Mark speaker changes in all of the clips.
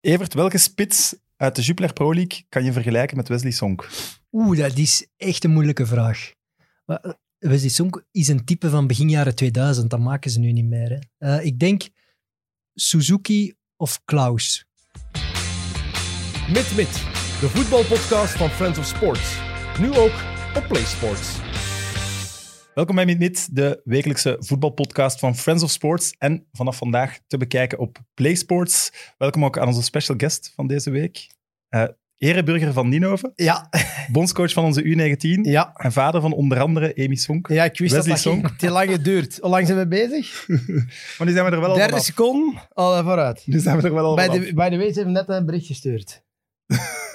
Speaker 1: Evert, welke spits uit de Jupiler Pro League kan je vergelijken met Wesley Sonk?
Speaker 2: Oeh, dat is echt een moeilijke vraag. Maar eh, Wesley Sonk is een type van begin jaren 2000. Dat maken ze nu niet meer. Hè. Eh, ik denk Suzuki of Klaus.
Speaker 3: Mit Mit, de voetbalpodcast van Friends of Sports. Nu ook op PlaySports.
Speaker 1: Welkom bij MidMid, de wekelijkse voetbalpodcast van Friends of Sports en vanaf vandaag te bekijken op PlaySports. Welkom ook aan onze special guest van deze week, Eh ereburger van Nienhoven,
Speaker 4: Ja,
Speaker 1: bondscoach van onze U19
Speaker 4: ja.
Speaker 1: en vader van onder andere Amy Sonk.
Speaker 4: ja ik wist
Speaker 1: Wesley
Speaker 4: dat dat ging te lang duurt. Hoe lang zijn we bezig?
Speaker 1: Maar nu zijn we er wel al
Speaker 4: 30
Speaker 1: vanaf.
Speaker 4: seconden, al eh, vooruit.
Speaker 1: Nu zijn we er wel al
Speaker 4: Bij
Speaker 1: vanaf.
Speaker 4: de, bij de wees hebben we net een bericht gestuurd.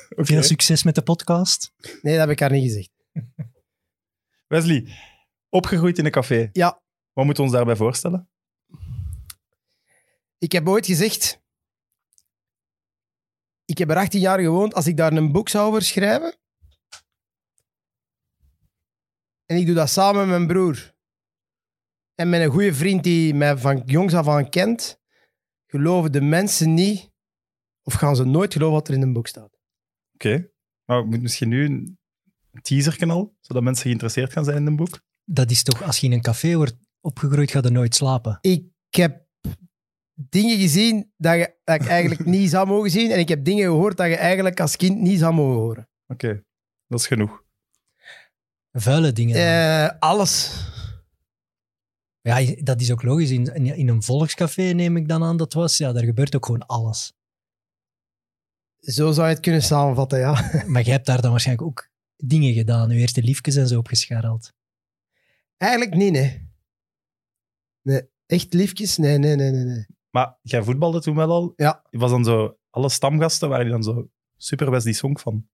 Speaker 1: Oké.
Speaker 2: Veel succes met de podcast.
Speaker 4: Nee, dat heb ik haar niet gezegd.
Speaker 1: Wesley, opgegroeid in een café.
Speaker 4: Ja.
Speaker 1: Wat moeten we ons daarbij voorstellen?
Speaker 4: Ik heb ooit gezegd... Ik heb er 18 jaar gewoond. Als ik daar een boek zou over schrijven... En ik doe dat samen met mijn broer. En met een goede vriend die mij van jongs af aan kent. Geloven de mensen niet... Of gaan ze nooit geloven wat er in een boek staat.
Speaker 1: Oké. Maar we moeten misschien nu een teaser al, zodat mensen geïnteresseerd gaan zijn in een boek.
Speaker 2: Dat is toch, als je in een café wordt opgegroeid, ga je nooit slapen.
Speaker 4: ik heb dingen gezien dat, je, dat ik eigenlijk niet zou mogen zien. En ik heb dingen gehoord dat je eigenlijk als kind niet zou mogen horen.
Speaker 1: Oké, dat is genoeg.
Speaker 2: Vuile dingen.
Speaker 4: Eh, alles.
Speaker 2: Ja, dat is ook logisch. In, in- in een volkscafé neem ik dan aan dat was. Ja, daar gebeurt ook gewoon alles.
Speaker 4: Zo zou je het kunnen samenvatten, ja.
Speaker 2: Maar jij hebt daar dan waarschijnlijk ook dingen gedaan. Je eerste liefjes en zo opgescharreld.
Speaker 4: Eigenlijk niet, nee. nee. Echt liefjes? Nee, nee, nee, nee. nee.
Speaker 1: Maar jij voetbalde toen wel al?
Speaker 4: Ja.
Speaker 1: Je was dan zo, alle stamgasten waren die dan zo super Wesley Song van.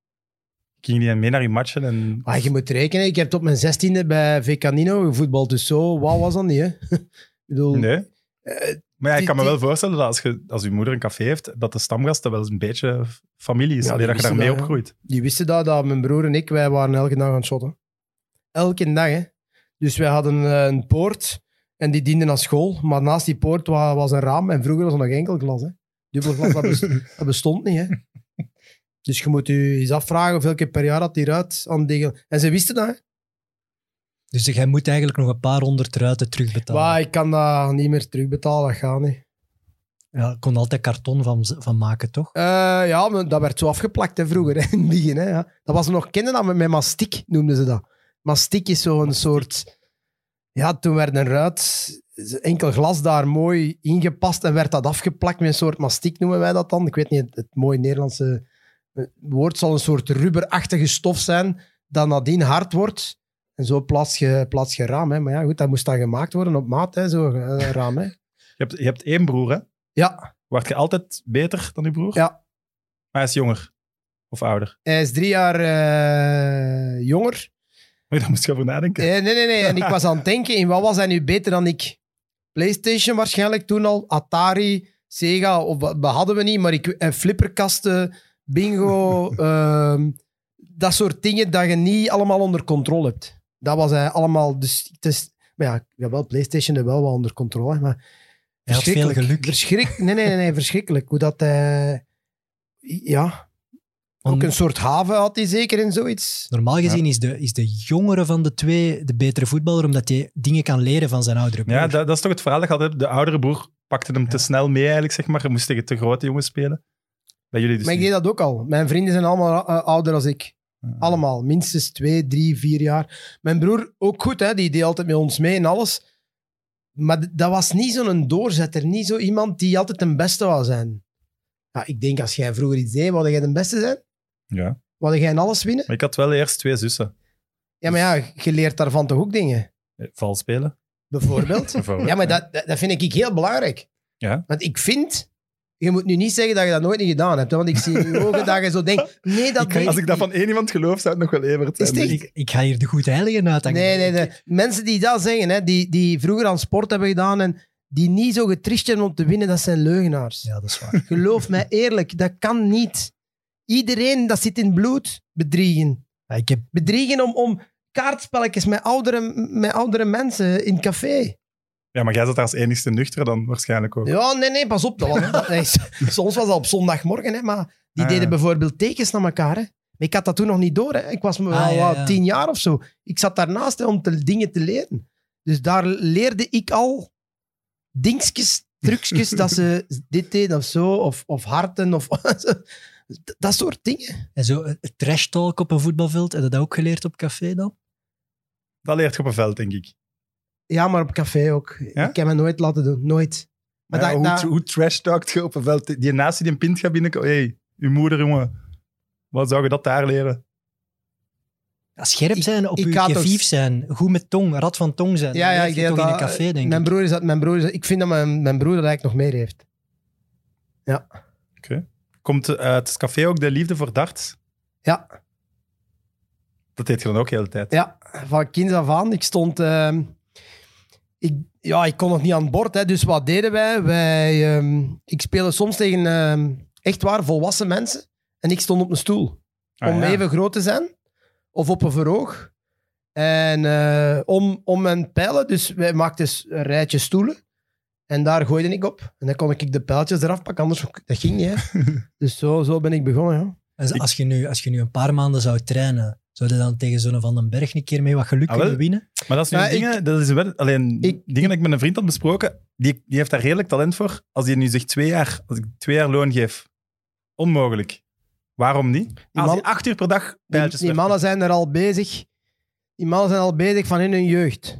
Speaker 1: Gingen die dan mee naar je matchen en...
Speaker 4: Maar Ah, je moet rekenen, ik heb tot mijn zestiende bij Vecanino gevoetbald. Dus zo, wauw was dat niet, hè. ik bedoel,
Speaker 1: Nee?
Speaker 4: eh,
Speaker 1: Maar ja, ik
Speaker 4: die-
Speaker 1: kan me
Speaker 4: die-
Speaker 1: wel voorstellen dat als, je, als je moeder een café heeft, dat de stamgasten wel eens een beetje familie is.
Speaker 4: Ja,
Speaker 1: alleen
Speaker 4: die
Speaker 1: dat je
Speaker 4: wisten
Speaker 1: daarmee
Speaker 4: dat, ja.
Speaker 1: opgroeit.
Speaker 4: die wisten dat, dat mijn broer en ik, wij waren elke dag aan het shotten. Elke dag, hè. Dus wij hadden eh, een poort en die diende als school. Maar naast die poort wa- was een raam en vroeger was er nog enkel glas, hè. Dubbel glas, dat, bes- dat bestond niet, hè. Dus je moet je eens afvragen hoeveel keer per jaar dat die eruit aan degel... En ze wisten dat, hè.
Speaker 2: Dus jij moet eigenlijk nog een paar honderd ruiten terugbetalen.
Speaker 4: Maar ik kan dat niet meer terugbetalen, dat gaat niet.
Speaker 2: Ja, ik kon altijd karton van, van maken, toch?
Speaker 4: Eh, ja, maar dat werd zo afgeplakt hè, vroeger, hè, in het begin. Hè, ja. Dat was nog kennen dat met, met mastiek, noemden ze dat. Mastiek is zo'n soort... Ja, toen werd een ruit, enkel glas daar mooi ingepast en werd dat afgeplakt met een soort mastiek, noemen wij dat dan. Ik weet niet, het, het mooie Nederlandse eh, woord zal een soort rubberachtige stof zijn dat nadien hard wordt. En zo plaats je, plaats je raam. Hè. Maar ja, goed, dat moest dan gemaakt worden op maat, hè, zo'n eh, raam. Hè.
Speaker 1: Je hebt, je hebt één broer, hè?
Speaker 4: Ja,
Speaker 1: Word je altijd beter dan je broer?
Speaker 4: Ja.
Speaker 1: Maar hij is jonger. Of ouder.
Speaker 4: hij is drie jaar eh, jonger.
Speaker 1: Oh, Daar moest je over nadenken.
Speaker 4: Eh, nee, nee, nee. En ik was aan het denken, in wat was hij nu beter dan ik? PlayStation waarschijnlijk toen al, Atari, Sega, of, wat- dat hadden we niet, maar ik, en flipperkasten, bingo, ehm, dat soort dingen dat je niet allemaal onder controle hebt. Dat was hij allemaal, dus het is, maar ja, ik heb wel PlayStation er wel wel onder controle, maar
Speaker 2: Hij had veel geluk.
Speaker 4: Verschrik, nee, nee, nee, nee, verschrikkelijk. Hoe dat hij, ja, ook
Speaker 2: Want
Speaker 4: een soort haven had hij zeker en zoiets.
Speaker 2: Normaal gezien is, de, is de jongere van de twee de betere voetballer, omdat hij dingen kan leren van zijn oudere broer.
Speaker 1: Ja, dat, dat is toch het verhaal dat je altijd hebt. De oudere broer pakte hem te
Speaker 2: Ja.
Speaker 1: snel mee, eigenlijk, zeg maar. Je moest tegen te grote jongens spelen. Bij jullie dus
Speaker 4: maar ik
Speaker 1: niet.
Speaker 4: deed dat ook al. Mijn vrienden zijn allemaal eh, ouder als ik.
Speaker 1: Ah.
Speaker 4: Allemaal. Minstens twee, drie, vier jaar. Mijn broer, ook goed, hè, die deed altijd met ons mee en alles. Maar d- dat was niet zo'n doorzetter. Niet zo iemand die altijd de beste wou zijn. Ja, ik denk, als jij vroeger iets deed, wilde jij de beste zijn?
Speaker 1: Ja.
Speaker 4: Wilde jij in alles winnen?
Speaker 1: Maar ik had wel eerst twee zussen.
Speaker 4: Ja, maar ja, je leert daarvan toch ook dingen.
Speaker 1: Eh, Vals spelen.
Speaker 4: Bijvoorbeeld.
Speaker 1: bijvoorbeeld.
Speaker 4: Ja, maar dat, dat- dat vind ik heel belangrijk.
Speaker 1: Ja.
Speaker 4: Want ik vind... Je moet nu niet zeggen dat je dat nooit niet gedaan hebt. hè, Want ik zie in je ogen dat je zo denkt... Nee, dat deed
Speaker 1: Als ik
Speaker 4: niet.
Speaker 1: dat van één iemand geloof, zou het nog wel Evert
Speaker 4: Is
Speaker 1: zijn.
Speaker 4: het echt?
Speaker 2: ik, ik ga hier de goed heiligen uit.
Speaker 4: Nee, nee, nee. Mensen die dat zeggen, hè, die, die vroeger aan sport hebben gedaan en die niet zo getricht zijn om te winnen, dat zijn leugenaars.
Speaker 2: Ja, dat is waar.
Speaker 4: Geloof mij eerlijk, dat kan niet. Iedereen, dat zit in bloed, bedriegen.
Speaker 2: Ja, Ik heb,
Speaker 4: Bedriegen om, om kaartspelletjes met oudere, met oudere mensen in café.
Speaker 1: Ja, maar jij zat daar als enigste nuchter dan waarschijnlijk ook.
Speaker 4: Ja, nee, nee, pas op. Dat was, dat- nee, soms was dat op zondagmorgen, hè, maar die
Speaker 1: Ah, ja.
Speaker 4: deden bijvoorbeeld tekens naar elkaar. Hè. Maar ik had dat toen nog niet door. Hè. Ik was wel
Speaker 2: Ah, ja,
Speaker 4: wel
Speaker 2: ja.
Speaker 4: tien jaar of zo. Ik zat daarnaast hè, om te, dingen te leren. Dus daar leerde ik al dingetjes, trucjes, dat ze dit deden of zo, of, of harten, of dat soort dingen.
Speaker 2: En zo eh, trash talk op een voetbalveld, heb je dat ook geleerd op café dan?
Speaker 1: Dat leert je op een veld, denk ik.
Speaker 4: Ja, maar op café ook.
Speaker 1: Ja?
Speaker 4: Ik heb me nooit laten doen, nooit. Maar
Speaker 1: Ja,
Speaker 4: dat-
Speaker 1: hoe,
Speaker 4: dat-
Speaker 1: hoe trash talkt je op een veld? Die naast die een pint gaat binnenkomen. Hé, hey, uw moeder, jongen. Wat zou je dat daar leren?
Speaker 2: Ja, scherp
Speaker 4: Ik-
Speaker 2: zijn, op
Speaker 4: ik
Speaker 2: uw
Speaker 4: had ook-
Speaker 2: gevief zijn, goed met tong, rad van tong zijn.
Speaker 4: Ja,
Speaker 2: Dat
Speaker 4: ja,
Speaker 2: leer
Speaker 4: ik
Speaker 2: je
Speaker 4: denk
Speaker 2: toch
Speaker 4: dat
Speaker 2: in een
Speaker 4: dat-
Speaker 2: café, denk
Speaker 4: mijn
Speaker 2: ik.
Speaker 4: broer is dat, mijn broer is dat- ik vind dat mijn, mijn broer dat eigenlijk nog meer heeft.
Speaker 1: Komt uit het café ook de liefde voor darts?
Speaker 4: Ja.
Speaker 1: Dat deed je dan ook de hele tijd.
Speaker 4: Ja, van kinds af aan. Ik stond... ehm, ik, ja, ik kon nog niet aan boord, hè, dus wat deden wij? wij ehm, ik speelde soms tegen ehm, echt waar volwassen mensen. En ik stond op een stoel.
Speaker 1: Ah,
Speaker 4: om
Speaker 1: ja.
Speaker 4: even groot te zijn. Of op een verhoog. En eh, om, om mijn pijlen. Dus wij maakten s- een rijtje stoelen. En daar gooide ik op. En dan kon ik de pijltjes eraf pakken, anders dat ging niet. hè. dus zo, zo ben ik begonnen. Ja.
Speaker 2: En
Speaker 1: Ik-
Speaker 2: als, je nu, als je nu een paar maanden zou trainen, zou je dan tegen zo'n Van den Berg een keer mee wat geluk
Speaker 1: Ah, wel.
Speaker 2: kunnen winnen?
Speaker 1: Maar dat is nu
Speaker 4: Ja,
Speaker 1: een ding,
Speaker 4: ik-
Speaker 1: hè. dat is wel, alleen
Speaker 4: Ik-
Speaker 1: dingen dat ik met een vriend had besproken, die, die heeft daar redelijk talent voor. Als die nu zegt twee jaar, als ik twee jaar loon geef, onmogelijk. Waarom niet? Als
Speaker 4: man-
Speaker 1: je acht uur per dag
Speaker 4: Die,
Speaker 1: pijltjes
Speaker 4: die
Speaker 1: werkt.
Speaker 4: mannen zijn er al bezig. Die mannen zijn al bezig van in hun jeugd.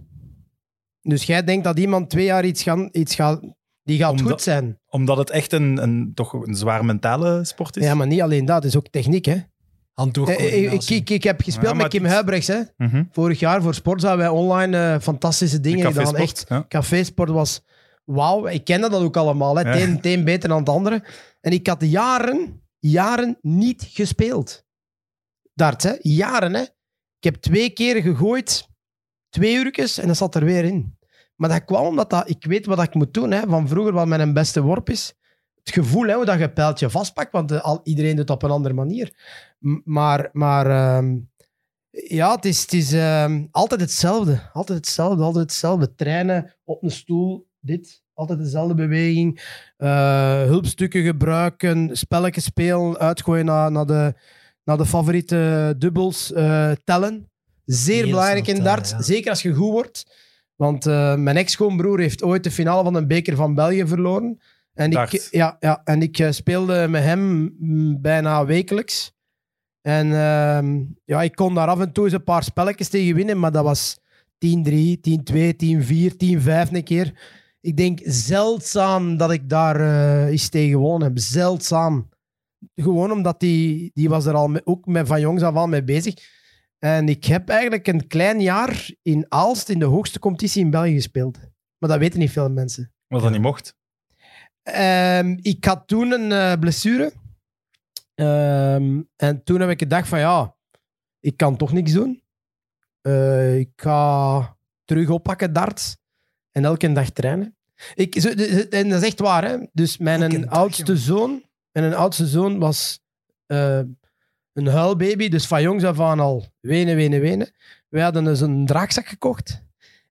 Speaker 4: Dus jij denkt dat iemand twee jaar iets gaat, iets gaat die gaat
Speaker 1: Omdat-
Speaker 4: goed zijn.
Speaker 1: Omdat het echt een, een, toch een zwaar mentale sport is.
Speaker 4: Ja, maar niet alleen dat, het is ook techniek. Hè? Eh, eh, Ik,
Speaker 2: Handdoogcoördinatie.
Speaker 4: ik, ik heb
Speaker 1: Ja,
Speaker 4: gespeeld
Speaker 1: maar
Speaker 4: met Kim
Speaker 1: het is-
Speaker 4: Huibrechts. Hè?
Speaker 1: Mhm.
Speaker 4: Vorig jaar voor sport hebben wij online eh, fantastische dingen
Speaker 1: De
Speaker 4: gedaan.
Speaker 1: cafésport,
Speaker 4: Echt,
Speaker 1: ja.
Speaker 4: cafésport was wauw. Ik kende dat ook allemaal. Hè.
Speaker 1: Ja.
Speaker 4: Het een- het een beter dan het andere. En ik had jaren, jaren niet gespeeld. Dart, hè? Jaren, hè? Ik heb twee keer gegooid, twee uurtjes, en dat zat er weer in. Maar dat kwam omdat dat, ik weet wat ik moet doen. Hè? Van vroeger, wat mijn beste worp is. Het gevoel hè, hoe dat je een pijltje vastpakt, want eh, al, iedereen doet het op een andere manier. M- maar maar ehm, ja, het is, het is ehm, altijd hetzelfde. Altijd hetzelfde, altijd hetzelfde. Trainen op een stoel, dit. Altijd dezelfde beweging. Eh, hulpstukken gebruiken, spelletjes spelen, uitgooien naar, naar, de, naar de favoriete dubbels. eh, tellen. Zeer
Speaker 2: Heel
Speaker 4: belangrijk
Speaker 2: snel
Speaker 4: in
Speaker 2: tellen,
Speaker 4: darts.
Speaker 2: ja.
Speaker 4: Zeker als je goed wordt. Want eh, mijn ex-schoonbroer heeft ooit de finale van een beker van België verloren. En ik,
Speaker 1: Dart.
Speaker 4: ja, ja, en ik eh, speelde met hem mm, bijna wekelijks. En ehm, ja, ik kon daar af en toe eens een paar spelletjes tegen winnen, maar dat was 10-3, 10-2, 10-4, 10-5 een keer. Ik denk zeldzaam dat ik daar eh eens tegen gewonnen heb. Zeldzaam. Gewoon omdat die, die was er al me- ook met, van jongs af aan mee bezig. En ik heb eigenlijk een klein jaar in Aalst in de hoogste competitie in België gespeeld. Maar dat weten niet veel mensen.
Speaker 1: Wat dat niet mocht.
Speaker 4: Ehm, ik had toen een eh, blessure. Ehm, en toen heb ik gedacht van ja, ik kan toch niks doen. Eh, ik ga terug oppakken darts en elke dag trainen. Ik, zo- de- de- en dat is echt waar. Hè? Dus
Speaker 2: Elke
Speaker 4: mijn
Speaker 2: dag,
Speaker 4: oudste zoon, mijn oudste zoon was eh, een huilbaby, dus van jongs af aan al wenen, wenen, wenen. Wij hadden dus een draagzak gekocht.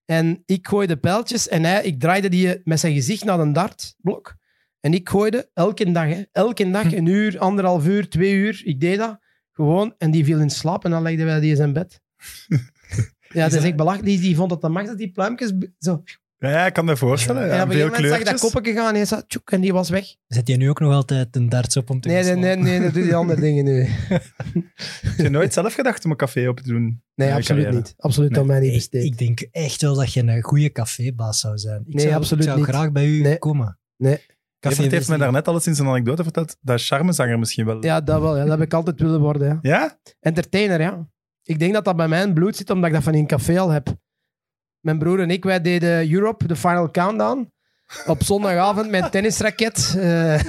Speaker 4: En ik gooide pijltjes en hij, ik draaide die met zijn gezicht naar een dartblok. En ik gooide elke dag, hè, elke
Speaker 1: Hm.
Speaker 4: dag een uur, anderhalf uur, twee uur. Ik deed dat gewoon en die viel in slaap en dan legden wij die in zijn bed. Ja, dat is echt belachelijk. Die, die vond dat de max dat die pluimpjes... b- Zo.
Speaker 1: Ja, ja, ik kan me voorstellen.
Speaker 4: en
Speaker 1: Ja,
Speaker 4: op een
Speaker 1: veel
Speaker 4: gegeven moment zag ik dat
Speaker 1: kleurtjes.
Speaker 4: koppetje gaan en hij zei, tjoek, en die was weg.
Speaker 2: Zet je nu ook nog altijd een darts op om te
Speaker 4: Nee,
Speaker 2: gaan
Speaker 4: nee, nee,
Speaker 2: slapen?
Speaker 4: nee, dat doet die andere dingen nu.
Speaker 1: Heb je nooit zelf gedacht om een café op te doen?
Speaker 4: Nee,
Speaker 1: Ja,
Speaker 4: absoluut
Speaker 1: carrière.
Speaker 4: niet. Absoluut
Speaker 1: Nee.
Speaker 4: aan mij niet
Speaker 2: Nee,
Speaker 4: besteed.
Speaker 2: ik denk echt wel dat je een goede cafébaas zou zijn. Ik
Speaker 4: Nee,
Speaker 2: zou,
Speaker 4: absoluut
Speaker 2: ik zou
Speaker 4: niet.
Speaker 2: graag bij u
Speaker 4: Nee.
Speaker 2: komen.
Speaker 4: Nee.
Speaker 2: Café
Speaker 1: Evert heeft mij
Speaker 2: Wesley.
Speaker 1: daarnet al sinds een anekdote verteld. Dat charmezanger misschien wel.
Speaker 4: dus Ja, dat wel. Ja. Dat heb ik altijd willen worden. Ja.
Speaker 1: Ja?
Speaker 4: Entertainer, ja. Ik denk dat dat bij mij in bloed zit, omdat ik dat van in een café al heb. Mijn broer en ik, wij deden Europe, de Final Countdown. Op zondagavond met een tennisraket. Eh,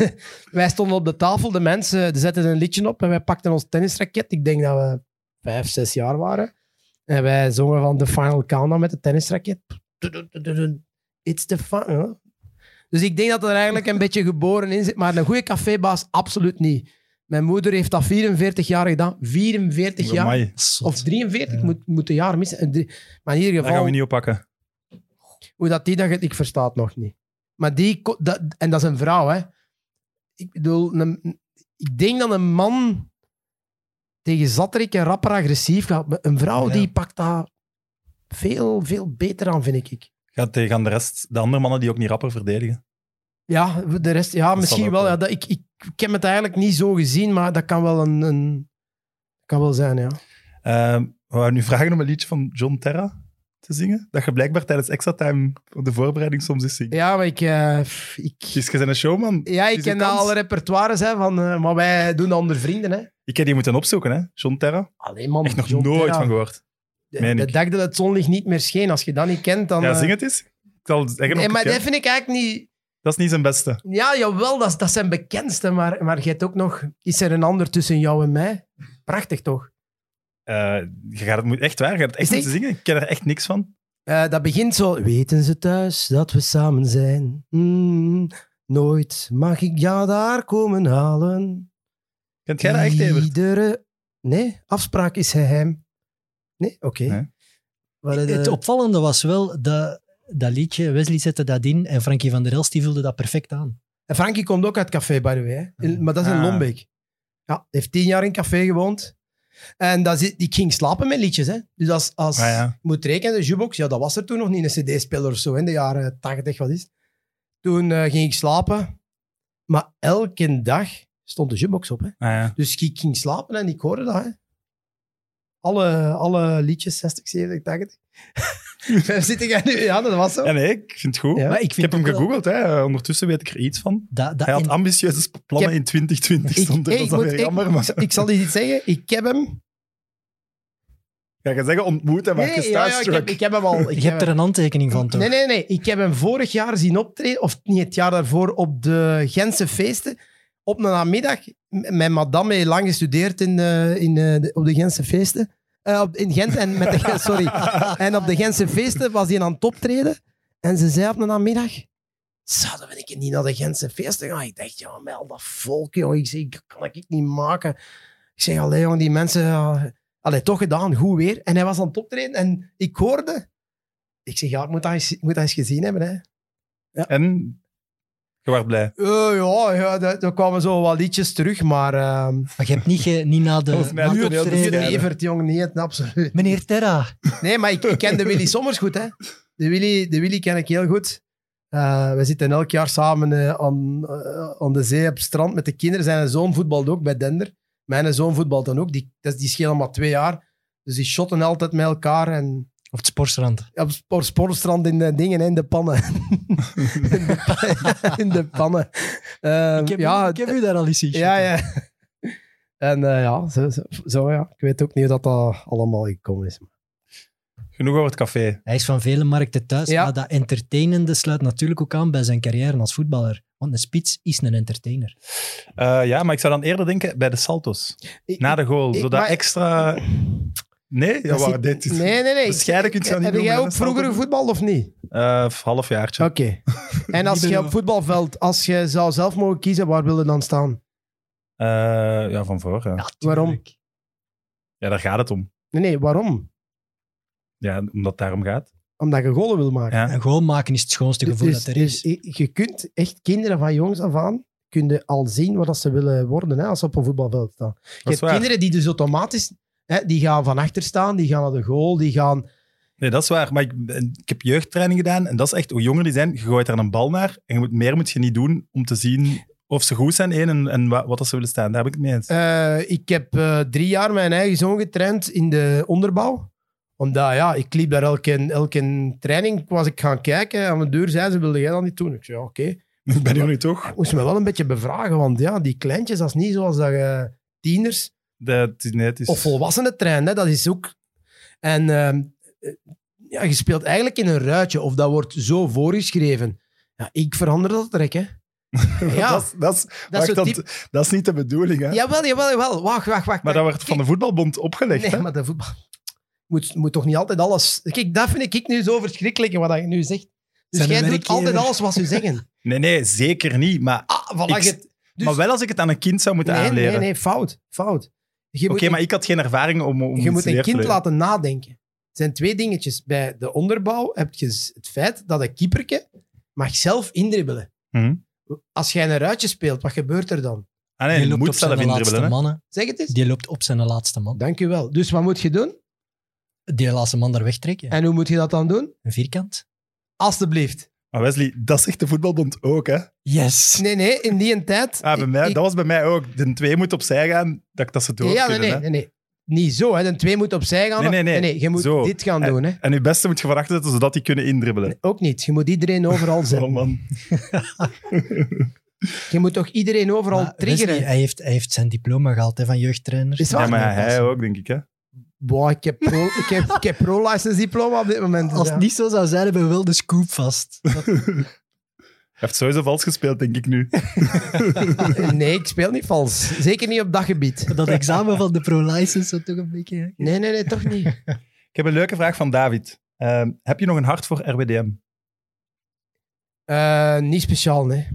Speaker 4: wij stonden op de tafel, de mensen eh, die zetten een liedje op en wij pakten ons tennisraket. Ik denk dat we vijf, zes jaar waren. En wij zongen van de Final Countdown met de tennisraket. It's the final. Dus ik denk dat er eigenlijk een beetje geboren in zit, maar een goede cafébaas absoluut niet. Mijn moeder heeft dat 44 jaar gedaan. 44 jaar.
Speaker 1: Amai,
Speaker 2: Zot.
Speaker 4: Of 43,
Speaker 2: Ja.
Speaker 4: moet, moet een jaar missen. Eh, drie- Maar in ieder
Speaker 1: dat gaan
Speaker 4: geval,
Speaker 1: we niet oppakken.
Speaker 4: Hoe dat die dat... ge- Ik versta het nog niet. Maar die... ko- Dat, en dat is een vrouw, hè. Ik bedoel... Een, ik denk dat een man tegen Zatterik en rapper agressief gaat. Maar een vrouw
Speaker 1: Ja.
Speaker 4: die pakt dat veel, veel beter aan, vind ik.
Speaker 1: Gaat tegen de rest, de andere mannen die ook niet rapper verdedigen.
Speaker 4: Ja, de rest... Ja,
Speaker 1: zal
Speaker 4: misschien
Speaker 1: ook
Speaker 4: wel.
Speaker 1: wel.
Speaker 4: Ja, dat, ik, ik, ik heb het eigenlijk niet zo gezien, maar dat kan wel een... een kan wel zijn, ja.
Speaker 1: Ehm, we gaan nu vragen om een liedje van John Terra te zingen. Dat je blijkbaar tijdens extra time voor de voorbereiding soms eens zingt.
Speaker 4: Ja, maar ik... eh, pff, ik
Speaker 1: Dus je bent een showman.
Speaker 4: ja,
Speaker 1: is
Speaker 4: ik
Speaker 1: een
Speaker 4: ken
Speaker 1: kans.
Speaker 4: alle repertoires, hè, van, eh, maar wij doen dat onder vrienden. Hè.
Speaker 1: Ik heb die moeten opzoeken, hè? John Terra.
Speaker 4: Alleen man,
Speaker 1: Echt nog
Speaker 4: John
Speaker 1: nooit
Speaker 4: Terra.
Speaker 1: van gehoord.
Speaker 4: De,
Speaker 1: Meen
Speaker 4: de
Speaker 1: ik.
Speaker 4: dag dat het zonlicht niet meer scheen, als je dat niet kent, dan...
Speaker 1: Ja,
Speaker 4: eh,
Speaker 1: zing het eens. Ik zal het zeggen.
Speaker 4: nee,
Speaker 1: op
Speaker 4: maar
Speaker 1: het,
Speaker 4: dat
Speaker 1: ja.
Speaker 4: vind ik eigenlijk niet...
Speaker 1: Dat is niet zijn beste.
Speaker 4: Ja, jawel, dat, is- dat zijn bekendste, maar, maar je hebt ook nog... Is er een ander tussen jou en mij? Prachtig, toch?
Speaker 1: Eh, je gaat het, moet- echt waar, je gaat het echt
Speaker 4: Zing-
Speaker 1: moeten zingen. Ik ken er echt niks van.
Speaker 4: Eh, dat begint zo... Weten ze thuis dat we samen zijn? Hmm, nooit mag ik jou daar komen halen.
Speaker 1: Kent jij dat echt, Evert?
Speaker 4: Iedere... Nee, afspraak is geheim. Nee? Oké.
Speaker 1: Nee.
Speaker 4: Wat eh, is
Speaker 2: Het
Speaker 4: de-
Speaker 2: opvallende was wel dat, dat liedje, Wesley zette dat in en Frankie van der Elst die vulde dat perfect aan.
Speaker 4: En Frankie komt ook uit Café, by the way. Hè? In- Maar dat is in
Speaker 1: Ah.
Speaker 4: Lombeek. Ja, heeft tien jaar in Café gewoond. En dat is, ik ging slapen met liedjes. Hè? Dus als, als
Speaker 1: Ah, ja.
Speaker 4: je moet rekenen, de jukebox, ja, dat was er toen nog niet, een cd-speler of zo, in de jaren tachtig, wat is het. Toen eh, ging ik slapen. Maar elke dag stond de jukebox op. Hè?
Speaker 1: Ah, ja.
Speaker 4: Dus ik ging slapen en ik hoorde dat. Hè. Alle, alle liedjes, 60, 70, 80. Waar zit ik nu? Ja, dat was zo.
Speaker 1: Ja, nee, ik vind het goed.
Speaker 4: Ja.
Speaker 2: Maar ik, vind
Speaker 1: Ik heb hem
Speaker 2: ook wel
Speaker 1: gegoogeld, hè. Eh, ondertussen weet ik er iets van.
Speaker 2: Dat, dat
Speaker 1: Hij had
Speaker 2: en-
Speaker 1: ambitieuze sp- plannen
Speaker 4: Ik
Speaker 1: in 2020. Stond er,
Speaker 4: hey,
Speaker 1: dat is dan
Speaker 4: moet-
Speaker 1: weer
Speaker 4: ik-
Speaker 1: jammer. Maar...
Speaker 4: ik zal iets zeggen. Ik heb hem
Speaker 1: Ja, je gaat zeggen ontmoet en maar je
Speaker 4: ja, ja, ik,
Speaker 1: starstruck.
Speaker 4: heb, ik heb hem al. Ik
Speaker 2: je hebt er een handtekening van, toch?
Speaker 4: Nee, nee, nee. Ik heb hem vorig jaar zien optreden, of niet het jaar daarvoor, op de Gentse feesten. Op een namiddag. M- Mijn madame heeft lang gestudeerd in, eh, in, eh, de- op de Gentse feesten. Eh, op, in Gent, en met de, sorry. En op de Gentse feesten was hij aan het optreden. En ze zei op een namiddag... Zouden we een keer niet naar de Gentse feesten gaan? Ik dacht, ja, met al dat volk, joh. Ik zeg, dat kan ik niet maken. Ik zeg, allee, jong, die mensen... ja, allee, toch gedaan, goed weer. En hij was aan het optreden en ik hoorde... Ik zeg, ja, ik moet dat eens, ik moet dat eens gezien hebben, hè.
Speaker 1: En je werd blij.
Speaker 4: Eh, ja, ja daar, daar kwamen zo wat liedjes terug, maar... ehm
Speaker 2: Maar je hebt niet, ge- niet na de...
Speaker 1: Volgens mij
Speaker 2: na
Speaker 1: doet
Speaker 2: de
Speaker 1: hij heel
Speaker 2: optreden-
Speaker 1: de Nee.
Speaker 4: Evert, jong, nee, het- absoluut.
Speaker 2: Meneer Terra.
Speaker 4: Nee, maar ik, ik ken de Willy Sommers goed, hè. De Willy, de Willy ken ik heel goed. Eh, we zitten elk jaar samen eh, aan, eh, aan de zee op het strand met de kinderen. Zijn zoon voetbalt ook bij Dender. Mijn zoon voetbalt dan ook. Die, dat is- die schelen maar twee jaar. Dus die shotten altijd met elkaar en...
Speaker 2: Op het sportstrand.
Speaker 4: Ja, Op het sportstrand in de dingen, hè, in de pannen. in, de, pa- in de pannen. Ehm,
Speaker 2: Ik heb,
Speaker 4: ja,
Speaker 2: u, ik heb u daar al eens zien.
Speaker 4: ja, ja. En eh, ja, zo, zo, zo, ja, ik weet ook niet hoe dat, dat allemaal gekomen is.
Speaker 1: Genoeg over het café.
Speaker 2: Hij is van vele markten thuis,
Speaker 4: Ja.
Speaker 2: maar dat entertainende sluit natuurlijk ook aan bij zijn carrière als voetballer. Want een spits is een entertainer.
Speaker 1: Eh, ja, maar ik zou dan eerder denken bij de saltos.
Speaker 4: Ik-
Speaker 1: Na de goal.
Speaker 4: ik-
Speaker 1: Zodat
Speaker 4: maar-
Speaker 1: extra... Nee, ja,
Speaker 4: Dat
Speaker 1: waar,
Speaker 4: zit-
Speaker 1: dit is...
Speaker 4: Nee, nee, nee.
Speaker 1: Bescheiden kunt je dat niet
Speaker 4: Heb jij
Speaker 1: noemen,
Speaker 4: ook
Speaker 1: hè, Salto?
Speaker 4: vroeger gevoetbald of niet?
Speaker 1: Eh, halfjaartje.
Speaker 4: Oké. En als
Speaker 2: ben
Speaker 4: je
Speaker 2: wel-
Speaker 4: op voetbalveld, als je zou zelf mogen kiezen, waar wil je dan staan?
Speaker 1: Eh, ja, van voor. Ja.
Speaker 2: Ja,
Speaker 4: Waarom?
Speaker 2: tuurlijk.
Speaker 1: Ja, daar gaat het om.
Speaker 4: Nee, nee, waarom?
Speaker 1: Ja, omdat het daarom gaat.
Speaker 4: Omdat je golen wil maken.
Speaker 1: Ja.
Speaker 2: Een goal maken is het schoonste gevoel
Speaker 4: Dus-
Speaker 2: dat er is.
Speaker 4: dus je- je kunt echt kinderen van jongs af aan kunnen al zien wat dat ze willen worden hè, als ze op een voetbalveld staan. Je
Speaker 1: Dat is
Speaker 4: hebt
Speaker 1: waar.
Speaker 4: kinderen die dus automatisch, hè, die gaan van achter staan, die gaan naar de goal, die gaan...
Speaker 1: Nee, dat is waar. Maar ik, ik heb jeugdtraining gedaan en dat is echt, hoe jonger die zijn, je gooit daar een bal naar en je moet, meer moet je niet doen om te zien of ze goed zijn één, en, en wa- wat dat ze willen staan. Daar heb ik het mee eens.
Speaker 4: Eh, ik heb eh, drie jaar mijn eigen zoon getraind in de onderbouw. Omdat, ja, ik liep daar elke, elke training, was ik gaan kijken. Aan mijn deur zei ze, wilde jij dat niet doen? Ik zei, ja, oké.
Speaker 1: ik ben jullie toch?
Speaker 4: Ik moest me wel een beetje bevragen, want ja, die kleintjes, dat is niet zoals dat je tieners
Speaker 1: De, het is- nee, het is-
Speaker 4: Of volwassenen trein, hè, dat is ook. En ehm, eh, ja, je speelt eigenlijk in een ruitje, of dat wordt zo voorgeschreven. Ja, ik verander dat trek, hè? Ja,
Speaker 1: dat, is- dat, is,
Speaker 4: dat is
Speaker 1: wacht,
Speaker 4: zo
Speaker 1: dat,
Speaker 4: typ-
Speaker 1: dat is niet de bedoeling, hè?
Speaker 4: Jawel, jawel, jawel. Wacht, wacht, wacht.
Speaker 1: maar dat werd van de voetbalbond opgelegd,
Speaker 4: Nee,
Speaker 1: hè?
Speaker 4: maar de voetbal. Moet, moet toch niet altijd alles. Kijk, dat vind ik nu zo verschrikkelijk, wat je nu zegt. Dus
Speaker 2: Zijn
Speaker 4: jij
Speaker 2: een
Speaker 4: doet
Speaker 2: werkgever.
Speaker 4: altijd alles wat ze zeggen.
Speaker 1: Nee, nee, zeker niet. Maar,
Speaker 4: Ah, voilà.
Speaker 1: Ik-
Speaker 4: je- dus-
Speaker 1: maar wel als ik het aan een kind zou moeten
Speaker 4: nee,
Speaker 1: aanleren.
Speaker 4: nee, nee, fout. Fout. Je
Speaker 1: Oké,
Speaker 4: moet, een-
Speaker 1: maar ik had geen ervaring om, om
Speaker 4: je
Speaker 1: iets
Speaker 4: moet
Speaker 1: leer
Speaker 4: een
Speaker 1: te
Speaker 4: kind
Speaker 1: leren.
Speaker 4: laten nadenken. Het zijn twee dingetjes. Bij de onderbouw heb je z- het feit dat een keeperke mag zelf indribbelen.
Speaker 1: Mhm.
Speaker 4: Als jij een ruitje speelt, wat gebeurt er dan?
Speaker 1: Ah nee,
Speaker 2: die
Speaker 1: je
Speaker 2: loopt op
Speaker 1: moet zelf
Speaker 2: zijn laatste
Speaker 1: indribbelen. hè.
Speaker 2: man. hè.
Speaker 4: Zeg het eens.
Speaker 2: Die loopt op zijn laatste man.
Speaker 4: Dank u wel. Dus wat moet je doen?
Speaker 2: Die laatste man daar wegtrekken.
Speaker 4: En hoe moet je dat dan doen?
Speaker 2: Een vierkant.
Speaker 4: Alsjeblieft.
Speaker 1: Maar Wesley, dat zegt de voetbalbond ook, hè?
Speaker 2: Yes.
Speaker 4: Nee, nee, in die tijd...
Speaker 1: Ah, bij mij,
Speaker 4: ik-
Speaker 1: dat was bij mij ook. De twee moet opzij gaan, dat, dat ze door
Speaker 4: ja,
Speaker 1: kunnen.
Speaker 4: nee, nee,
Speaker 1: hè.
Speaker 4: nee, nee. Niet zo, hè. De twee moet opzij gaan.
Speaker 1: Nee, nee, nee.
Speaker 4: Je moet
Speaker 1: Zo.
Speaker 4: dit gaan
Speaker 1: Eh,
Speaker 4: doen, hè.
Speaker 1: En je beste moet je van achter zetten, zodat die kunnen indribbelen.
Speaker 4: Ook niet. Je moet iedereen overal zetten.
Speaker 1: Oh, man.
Speaker 4: Je moet toch iedereen overal
Speaker 2: Maar
Speaker 4: triggeren?
Speaker 2: Wesley, hij, heeft, hij heeft zijn diploma gehaald hè, van jeugdtrainer.
Speaker 4: Is waar?
Speaker 1: Ja,
Speaker 4: Ah,
Speaker 1: maar hij ook, denk ik, hè?
Speaker 4: Boah, ik heb pro- ik heb, ik heb pro-license diploma op dit moment. dus
Speaker 2: Als
Speaker 4: ja.
Speaker 2: het niet zo zou zijn, hebben we wel de scoop vast.
Speaker 1: Hij heeft sowieso vals gespeeld, denk ik nu.
Speaker 4: Nee, ik speel niet vals. Zeker niet op dat gebied.
Speaker 2: Dat examen van de pro-license zou toch een beetje... hè?
Speaker 4: Nee, nee, nee, toch niet.
Speaker 1: Ik heb een leuke vraag van David. Ehm, heb je nog een hart voor RWDM?
Speaker 4: Eh, niet speciaal, nee.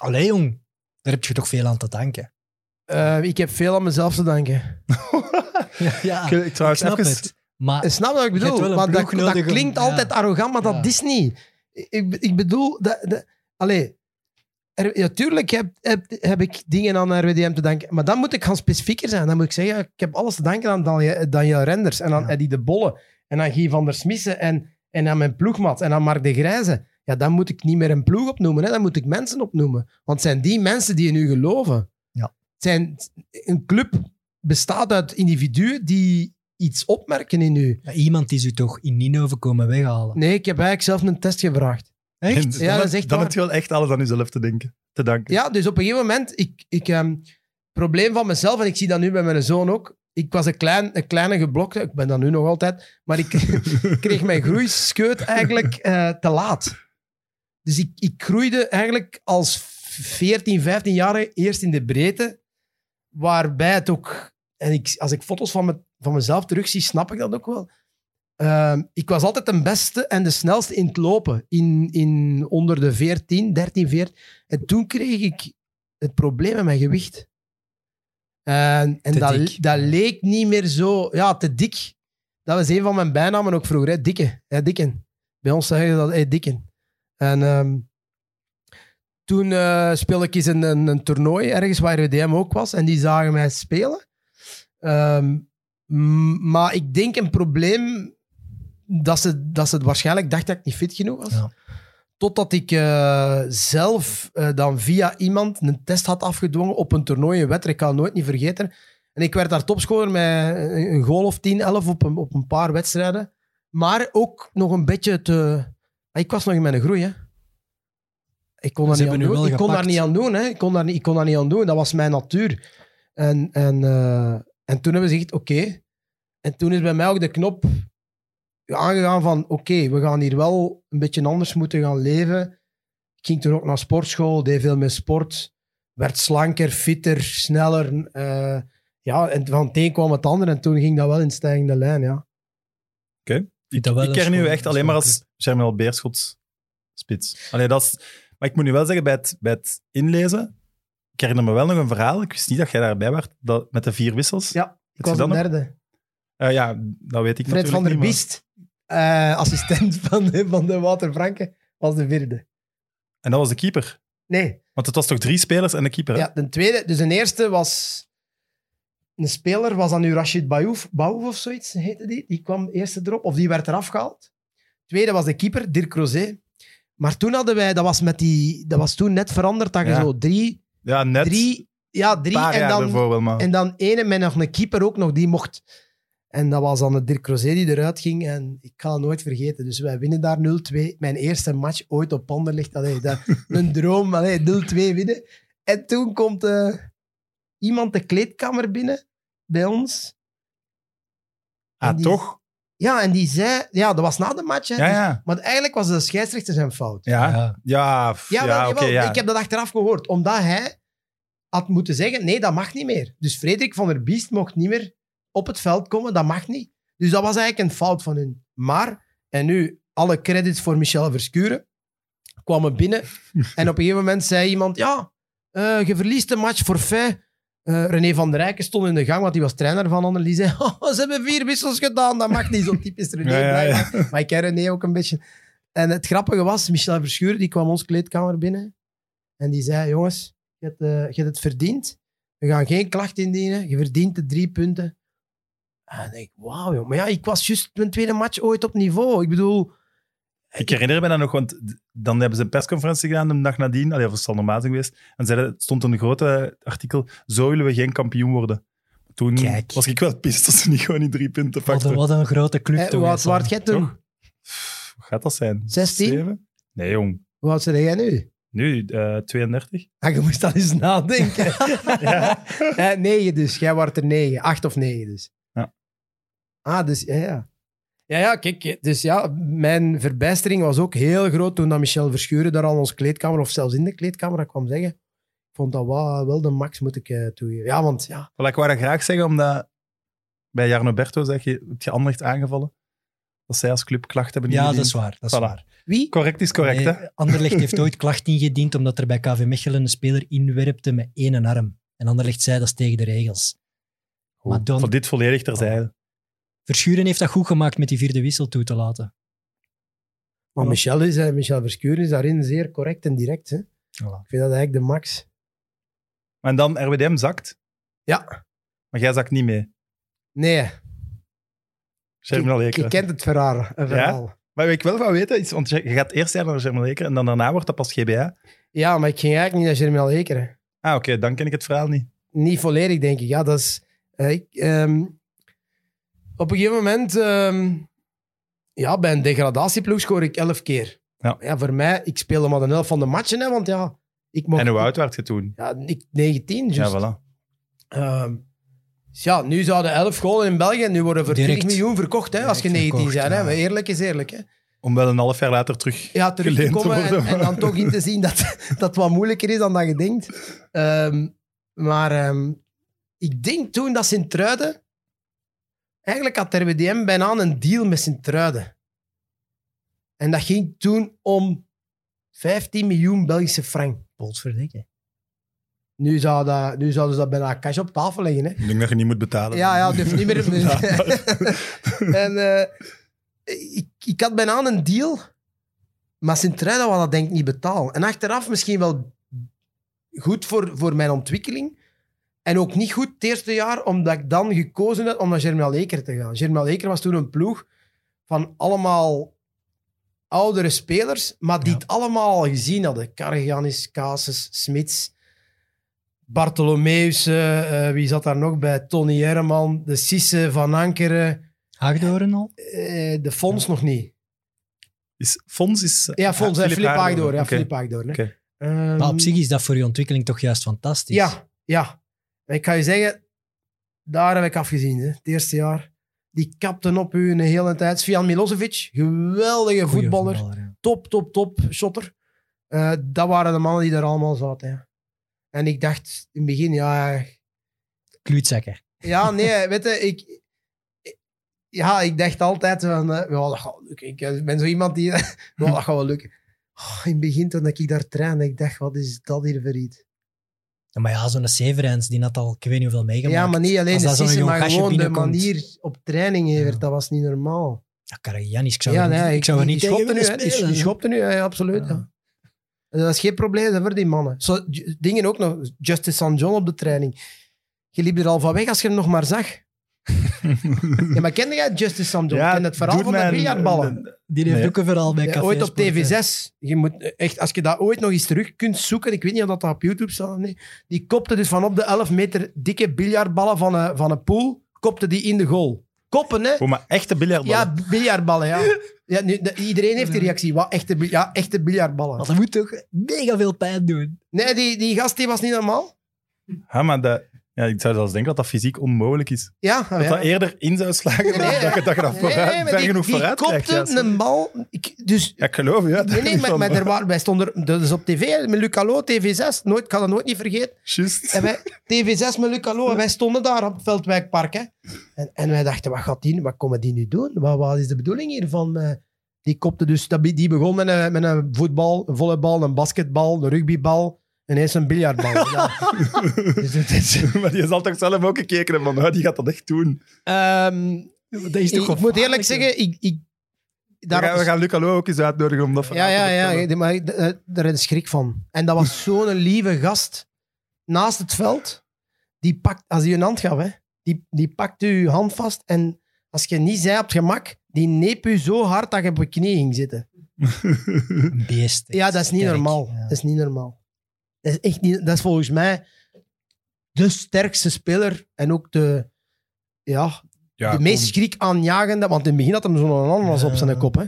Speaker 2: Allee, jong. Daar heb je toch veel aan te danken.
Speaker 4: Eh, ik heb veel aan mezelf te danken.
Speaker 2: Ja,
Speaker 1: Ik- ik trouwens
Speaker 2: Ah, ik snap
Speaker 1: even-
Speaker 2: het. Maar
Speaker 4: Eh, Snap je wat ik
Speaker 2: Je hebt wel
Speaker 4: bedoel?
Speaker 2: een
Speaker 4: Want dat,
Speaker 2: ploeg nodig
Speaker 4: dat
Speaker 2: om-
Speaker 4: klinkt
Speaker 2: ja.
Speaker 4: altijd arrogant, maar
Speaker 2: Ja.
Speaker 4: dat is niet. Ik, ik bedoel, dat, dat, allee, er, ja, tuurlijk heb, heb, heb ik dingen aan RWDM te danken, maar dan moet ik gaan specifieker zijn. Dan moet ik zeggen, ik heb alles te danken aan Daniel, Daniel Renders en aan
Speaker 2: Ja.
Speaker 4: Eddie de Bolle en aan Guy van der Smissen en, en aan mijn ploegmat en aan Mark de Grijze. Ja, dan moet ik niet meer een ploeg opnoemen, hè. dan moet ik mensen opnoemen. Want het zijn die mensen die in u geloven.
Speaker 2: Ja.
Speaker 4: Het zijn, een club bestaat uit individuen die iets opmerken in u.
Speaker 2: ja, iemand is u toch in Ninove komen weghalen.
Speaker 4: Nee, ik heb eigenlijk zelf een test gevraagd.
Speaker 1: En
Speaker 4: Ja,
Speaker 1: dan-
Speaker 4: dat is echt
Speaker 1: Dan
Speaker 4: waar.
Speaker 1: heb je wel echt alles aan jezelf te, denken, te danken.
Speaker 4: Ja, dus op een gegeven moment, ik, ik ehm, probleem van mezelf, en ik zie dat nu bij mijn zoon ook. Ik was een, klein, een kleine geblokte, ik ben dat nu nog altijd, maar ik kreeg mijn groeischeut eigenlijk eh, te laat. Dus ik, ik groeide eigenlijk als 14, 15 jarige eerst in de breedte, waarbij het ook, en ik, als ik foto's van, me, van mezelf terugzie, snap ik dat ook wel. Ehm, ik was altijd de beste en de snelste in het lopen, in, in onder de 14, 13, 14. En toen kreeg ik het probleem met mijn gewicht. En, en
Speaker 2: Te
Speaker 4: dat,
Speaker 2: dik.
Speaker 4: dat leek niet meer zo... Ja, te dik. Dat was een van mijn bijnamen ook vroeger. Hè. Dikke. Hè, dikken. Bij ons zeggen ze dat, hey, dikken. En ehm, toen eh, speelde ik eens een, een, een toernooi ergens waar RWDM ook was. En die zagen mij spelen. Ehm, m- maar ik denk een probleem dat ze, dat ze het waarschijnlijk dacht dat ik niet fit genoeg was.
Speaker 2: Ja.
Speaker 4: Totdat ik eh, zelf eh, dan via iemand een test had afgedwongen op een toernooi, een wedstrijd. Ik kan het nooit niet vergeten. En ik werd daar topscorer met een een goal of 10, 11 op een, op een paar wedstrijden. Maar ook nog een beetje te... ah, Ik was nog in mijn groei, hè. Ik kon daar
Speaker 2: Ze
Speaker 4: niet aan
Speaker 2: hebben u
Speaker 4: doen.
Speaker 2: wel
Speaker 4: Ik kon daar
Speaker 2: gepakt.
Speaker 4: niet aan doen, hè. Ik kon daar, niet- ik kon daar niet aan doen. Dat was mijn natuur. En, en, eh, en toen hebben ze gezegd, oké. En toen is bij mij ook de knop aangegaan van oké, we gaan hier wel een beetje anders moeten gaan leven. Ik ging toen ook naar sportschool, deed veel meer sport. Werd slanker, fitter, sneller. eh, ja, en van het een kwam het ander en toen ging dat wel in stijgende lijn, ja.
Speaker 2: vind dat wel
Speaker 1: ik
Speaker 2: een
Speaker 1: ken nu
Speaker 2: schoon-
Speaker 1: echt alleen maar
Speaker 2: schoon
Speaker 1: als Germinal Beerschots spits. Allee, dat is, maar ik moet nu wel zeggen, bij het, bij het inlezen, ik herinner me wel nog een verhaal. Ik wist niet dat jij daarbij was, dat, met de vier wissels.
Speaker 4: Ja, Ik
Speaker 1: Weet je
Speaker 4: was de
Speaker 1: dat nog?
Speaker 4: derde.
Speaker 1: Eh, ja, dat weet ik
Speaker 4: Fred
Speaker 1: natuurlijk
Speaker 4: van der
Speaker 1: niet, maar-
Speaker 4: Biest, eh, assistent van de, van de Wouter Franke, was de vierde.
Speaker 1: En dat was de keeper.
Speaker 4: Nee,
Speaker 1: Want het was toch drie spelers en de keeper? hè?
Speaker 4: Ja, de tweede. Dus de eerste was... Een speler was dan nu Rashid Baouf, Baouf of zoiets, heette die. Die kwam eerste erop, of die werd eraf gehaald. Tweede was de keeper, Dirk Rosé. Maar toen hadden wij... Dat was, met die, dat was toen net veranderd, dat je
Speaker 1: Ja.
Speaker 4: zo drie...
Speaker 1: Ja, net
Speaker 4: drie ja,
Speaker 1: een
Speaker 4: drie
Speaker 1: paar
Speaker 4: en
Speaker 1: jaar
Speaker 4: dan,
Speaker 1: daarvoor wel, maar...
Speaker 4: en dan ene met nog een keeper ook nog, die mocht. En dat was dan de Dirk Rosé die eruit ging. En ik kan het nooit vergeten. Dus wij winnen daar 0-2. Mijn eerste match ooit op Anderlecht. Allee, dat, een droom. Allee, 0-2 winnen. En toen komt eh, iemand de kleedkamer binnen bij ons. en
Speaker 1: ah,
Speaker 4: die-
Speaker 1: toch?
Speaker 4: Ja, en die zei... Ja, dat was na de match. Hè,
Speaker 1: Ja, ja.
Speaker 4: Maar eigenlijk was de scheidsrechter zijn fout.
Speaker 1: Ja, ja.
Speaker 2: Ja.
Speaker 1: f-
Speaker 4: Ja,
Speaker 1: ja,
Speaker 4: wel,
Speaker 1: oké,
Speaker 4: jawel.
Speaker 1: ja.
Speaker 4: ik heb dat achteraf gehoord. Omdat hij had moeten zeggen, nee, dat mag niet meer. Dus Frederik van der Biest mocht niet meer op het veld komen, dat mag niet. Dus dat was eigenlijk een fout van hun. Maar, en nu alle credits voor Michel Verskuren, kwamen binnen en op een gegeven moment zei iemand, ja, eh, je verliest de match voor fijn. Eh, René van der Rijken stond in de gang, want die was trainer van Anderlecht. Die zei, "Oh, ze hebben vier wissels gedaan. Dat mag niet, zo typisch René.
Speaker 1: Ja, ja, ja.
Speaker 4: blijkbaar. Maar ik ken René ook een beetje. En het grappige was, Michel Verschuur, die kwam ons kleedkamer binnen. En die zei, jongens, je hebt, eh, je hebt het verdiend. We gaan geen klacht indienen. Je verdient de drie punten. En ik denk, wauw, joh. Maar ja, ik was juist mijn tweede match ooit op niveau. Ik bedoel...
Speaker 1: Ik herinner me dat nog, want d- dan hebben ze een persconferentie gedaan een dag nadien. Allee, of het zal normaal zijn geweest. En zeiden, het stond een grote artikel, zo willen we geen kampioen worden. Toen
Speaker 2: Kijk.
Speaker 1: was ik wel pist dat ze niet gewoon die drie punten
Speaker 2: Wat, een-
Speaker 1: pakten.
Speaker 2: wat een grote club
Speaker 4: eh,
Speaker 2: toch.
Speaker 4: hoe oud
Speaker 2: is dat.
Speaker 4: waard jij toen?
Speaker 1: Toch? Pff, Hoe gaat dat zijn?
Speaker 4: 16?
Speaker 1: Zeven? Nee, jong.
Speaker 4: Hoe oud ben jij nu?
Speaker 1: Nu, eh 32.
Speaker 4: Ah, je moest dan eens
Speaker 1: Nou,
Speaker 4: nadenken.
Speaker 1: Ja.
Speaker 4: Eh, negen dus. Jij wordt er negen. Acht of negen dus.
Speaker 1: Ja.
Speaker 4: Ah, dus ja, ja. Ja, ja, kijk. Dus ja, mijn verbijstering was ook heel groot toen dat Michel Verschuren daar aan onze kleedkamer, of zelfs in de kleedkamer, kwam zeggen. Ik vond dat wel, wel de max, moet ik eh, toegeven. Ja, want ja,
Speaker 1: Wel, ik wou dat graag zeggen, omdat bij Jarno Berto zeg je, heb je Anderlecht aangevallen? Dat zij als club klacht hebben
Speaker 2: Ja, dat
Speaker 1: ingediend.
Speaker 2: is waar. Dat is
Speaker 1: Voilà.
Speaker 2: waar.
Speaker 4: wie?
Speaker 1: Correct is correct, hè?
Speaker 2: Nee, Anderlecht heeft ooit klacht ingediend omdat er bij KV Mechelen een speler inwerpte met één arm. En Anderlecht zei dat is tegen de regels. Maar dan-
Speaker 1: Voor dit volledig terzijde.
Speaker 2: Verschuren heeft dat goed gemaakt met die vierde wissel toe te laten.
Speaker 4: Maar Michel, is, eh, Michel Verschuren is daarin zeer correct en direct. Hè? Ik vind dat eigenlijk de max.
Speaker 1: En dan RWDM zakt.
Speaker 4: Ja.
Speaker 1: Maar jij zakt niet mee.
Speaker 4: Nee,
Speaker 1: Germinal
Speaker 4: je
Speaker 1: Ekeren.
Speaker 4: kent het verhaal. eh, verhaal.
Speaker 1: Maar wat ik wel van weten is, want je je gaat eerst zijn naar Germinal Ekeren en dan daarna wordt dat pas GBA.
Speaker 4: Ja, maar ik ging eigenlijk niet naar Germinal Ekeren.
Speaker 1: Ah, oké, dan ken ik het verhaal niet.
Speaker 4: niet volledig, denk ik. Ja, dat is... eh, ik, ehm, op een gegeven moment... ehm, ja, bij een degradatieploeg scoor ik elf keer.
Speaker 1: Ja.
Speaker 4: voor mij, ik speelde maar de helft van de matchen, hè, want ja... Ik mocht,
Speaker 1: En hoe oud werd je toen?
Speaker 4: Ja, ik, 19, juist. Ja,
Speaker 1: Ja, voilà.
Speaker 4: dus ja, nu zouden elf golen in België, nu worden voor
Speaker 2: Direct.
Speaker 4: 20 miljoen verkocht, hè, als je
Speaker 2: Direct
Speaker 4: 19 bent.
Speaker 2: verkocht,
Speaker 4: Hè.
Speaker 2: ja.
Speaker 4: Maar Eerlijk is eerlijk, hè
Speaker 1: Om wel een half jaar later terug.
Speaker 4: ja, terug te
Speaker 1: geleend te
Speaker 4: komen en,
Speaker 1: worden.
Speaker 4: en dan toch in te zien dat dat het wat moeilijker is dan dat je denkt. Ehm, maar ehm, ik denk toen dat Sint-Truiden... Eigenlijk had RWDM bijna een deal met Sint-Truiden. En dat ging toen om 15 miljoen Belgische frank.
Speaker 2: Potverdikke.
Speaker 4: Nu, zou dat, nu zouden ze dat bijna cash op tafel leggen. Hè?
Speaker 1: Ik denk dat je niet moet betalen.
Speaker 4: Ja, ja, durf niet meer.
Speaker 1: Ja. dus-
Speaker 4: en eh, ik, ik had bijna een deal, maar Sint-Truiden wou dat denk ik niet betalen. En achteraf misschien wel goed voor, voor mijn ontwikkeling. En ook niet goed het eerste jaar, omdat ik dan gekozen had om naar Germinal Eker te gaan. Germinal Eker was toen een ploeg van allemaal oudere spelers, maar die
Speaker 2: Ja.
Speaker 4: het allemaal al gezien hadden. Kargianis, Casus, Smits. Bartholomeus, eh, eh, wie zat daar nog bij? Tony Herman, de Sisse van Ankeren,
Speaker 2: Haagdoren al?
Speaker 4: eh, de Fons nog niet.
Speaker 1: Is, Fons is... eh,
Speaker 4: Ja, Fons, ja, Filip
Speaker 1: Haagdoorn.
Speaker 4: Haagdoor. Ja,
Speaker 1: Oké.
Speaker 4: Filip Haagdoor. hè.
Speaker 1: Oké.
Speaker 4: Ehm,
Speaker 2: Maar op zich is dat voor je ontwikkeling toch juist fantastisch.
Speaker 4: Ja, ja. Ik ga je zeggen, daar heb ik afgezien, hè, het eerste jaar. Die kapten op u een hele tijd. Svian Milosevic, geweldige
Speaker 2: Goeie
Speaker 4: voetballer.
Speaker 2: ja.
Speaker 4: Top, top, top shotter. Eh, dat waren de mannen die daar allemaal zaten. ja. En ik dacht in het begin, ja,
Speaker 2: Kluutzakker.
Speaker 4: Ja, nee, weet je, ik... ik- Ja, ik dacht altijd van... eh, ja, dat gaat wel lukken. Ik eh, ben zo iemand die... ja, dat gaat wel lukken. Oh, in het begin, toen ik daar trainde, ik dacht, wat is dat hier voor iets?
Speaker 2: Ja, maar ja, zo'n Severijns, die had al ik weet niet hoeveel meegemaakt.
Speaker 4: Ja, maar niet alleen
Speaker 2: Als
Speaker 4: de
Speaker 2: dat zo'n
Speaker 4: sissen,
Speaker 2: jong
Speaker 4: maar
Speaker 2: gastje
Speaker 4: gewoon de
Speaker 2: binnenkomt.
Speaker 4: manier op training, Evert.
Speaker 2: Ja.
Speaker 4: Dat was niet normaal.
Speaker 2: Ja, Karagiannis, ik zou
Speaker 4: ja,
Speaker 2: er niet,
Speaker 4: nee,
Speaker 2: ik zou er
Speaker 4: die-
Speaker 2: niet
Speaker 4: die
Speaker 2: tegen
Speaker 4: schopte
Speaker 2: willen
Speaker 4: nu, hè. Die-
Speaker 2: spelen.
Speaker 4: Die schopte nu, hè, absoluut.
Speaker 2: Ja.
Speaker 4: ja. Dat is geen probleem voor die mannen. Zo, j- dingen ook nog. Justice San John op de training. Je liep er al van weg als je hem nog maar zag. ja, maar kende jij Justice San John? Ken het verhaal
Speaker 1: doet
Speaker 4: van
Speaker 1: mij
Speaker 4: de
Speaker 1: een-
Speaker 4: biljartballen?
Speaker 1: een-
Speaker 2: Die heeft
Speaker 1: Nee.
Speaker 2: ook een verhaal bij
Speaker 4: Ja,
Speaker 2: Café
Speaker 4: ooit op
Speaker 2: Sport, hè.
Speaker 4: TV6. Je moet echt, als je dat ooit nog eens terug kunt zoeken, ik weet niet of dat op YouTube staat of niet. Die kopte dus van op de 11 meter dikke biljartballen van een, van een pool, kopte die in de goal. Koppen, hè?
Speaker 1: Oh, maar echte biljartballen.
Speaker 4: Ja, biljartballen, ja. ja nu, de- iedereen heeft die reactie. Wat, echte, bil- ja, echte biljartballen.
Speaker 2: Want dat moet toch mega veel pijn doen.
Speaker 4: Nee, die, die gast die was niet normaal.
Speaker 1: Ja, maar dat, ja, ik zou zelfs denken dat dat fysiek onmogelijk is.
Speaker 4: Ja, ah, ja.
Speaker 1: Dat dat eerder in zou slagen dan
Speaker 4: Nee,
Speaker 1: dat je dat, je dat vooruit,
Speaker 4: maar
Speaker 1: ver
Speaker 4: die,
Speaker 1: genoeg
Speaker 4: die
Speaker 1: vooruit krijgt.
Speaker 4: kopte
Speaker 1: ja.
Speaker 4: een bal. Ik, dus
Speaker 1: Ja, ik geloof je. Ja,
Speaker 4: Nee, nee, maar, maar er waren, wij stonden er- dat is op tv, hè, met Luc Allo, TV6, nooit, ik kan dat nooit niet vergeten.
Speaker 1: Juist.
Speaker 4: En wij, TV6 met Luc Allo, en wij stonden daar op het Veldwijkpark. Hè. En, en wij dachten, wat gaat die, nu- wat komen die nu doen? Wat, wat is de bedoeling hiervan? eh? Die kopte dus, dat be- die begon met een, met een voetbal, een volleybal, een basketbal, een rugbybal, ineens een biljartbal. ja. Dus het is-
Speaker 1: maar die zal toch zelf ook gekeken hebben van, nou, die gaat dat echt doen.
Speaker 4: Ehm,
Speaker 2: Dat is
Speaker 4: ik,
Speaker 2: toch
Speaker 4: ik moet eerlijk zeggen, ik... ik
Speaker 1: We gaan,
Speaker 4: daarop-
Speaker 1: we gaan Luc Allo ook eens uitnodigen om dat verhaal
Speaker 4: Ja, ja,
Speaker 1: te
Speaker 4: ja.
Speaker 1: vertellen.
Speaker 4: ja, Maar ik- eh, daar een schrik van. En dat was zo'n lieve gast naast het veld. Die pakt, als hij een hand gaf, hè, die, die pakt uw hand vast. En als je niet zei op het gemak, die neep u zo hard dat je op je knie ging zitten.
Speaker 2: een beest.
Speaker 4: Ja, dat is niet
Speaker 2: Sterk,
Speaker 4: normaal.
Speaker 2: ja.
Speaker 4: Dat is niet normaal. Dat is, echt niet, dat is volgens mij de sterkste speler en ook de, ja, de meest schrikaanjagende. Want in het begin had hem zo'n ananas op zijn
Speaker 2: Ja.
Speaker 4: kop. Hè.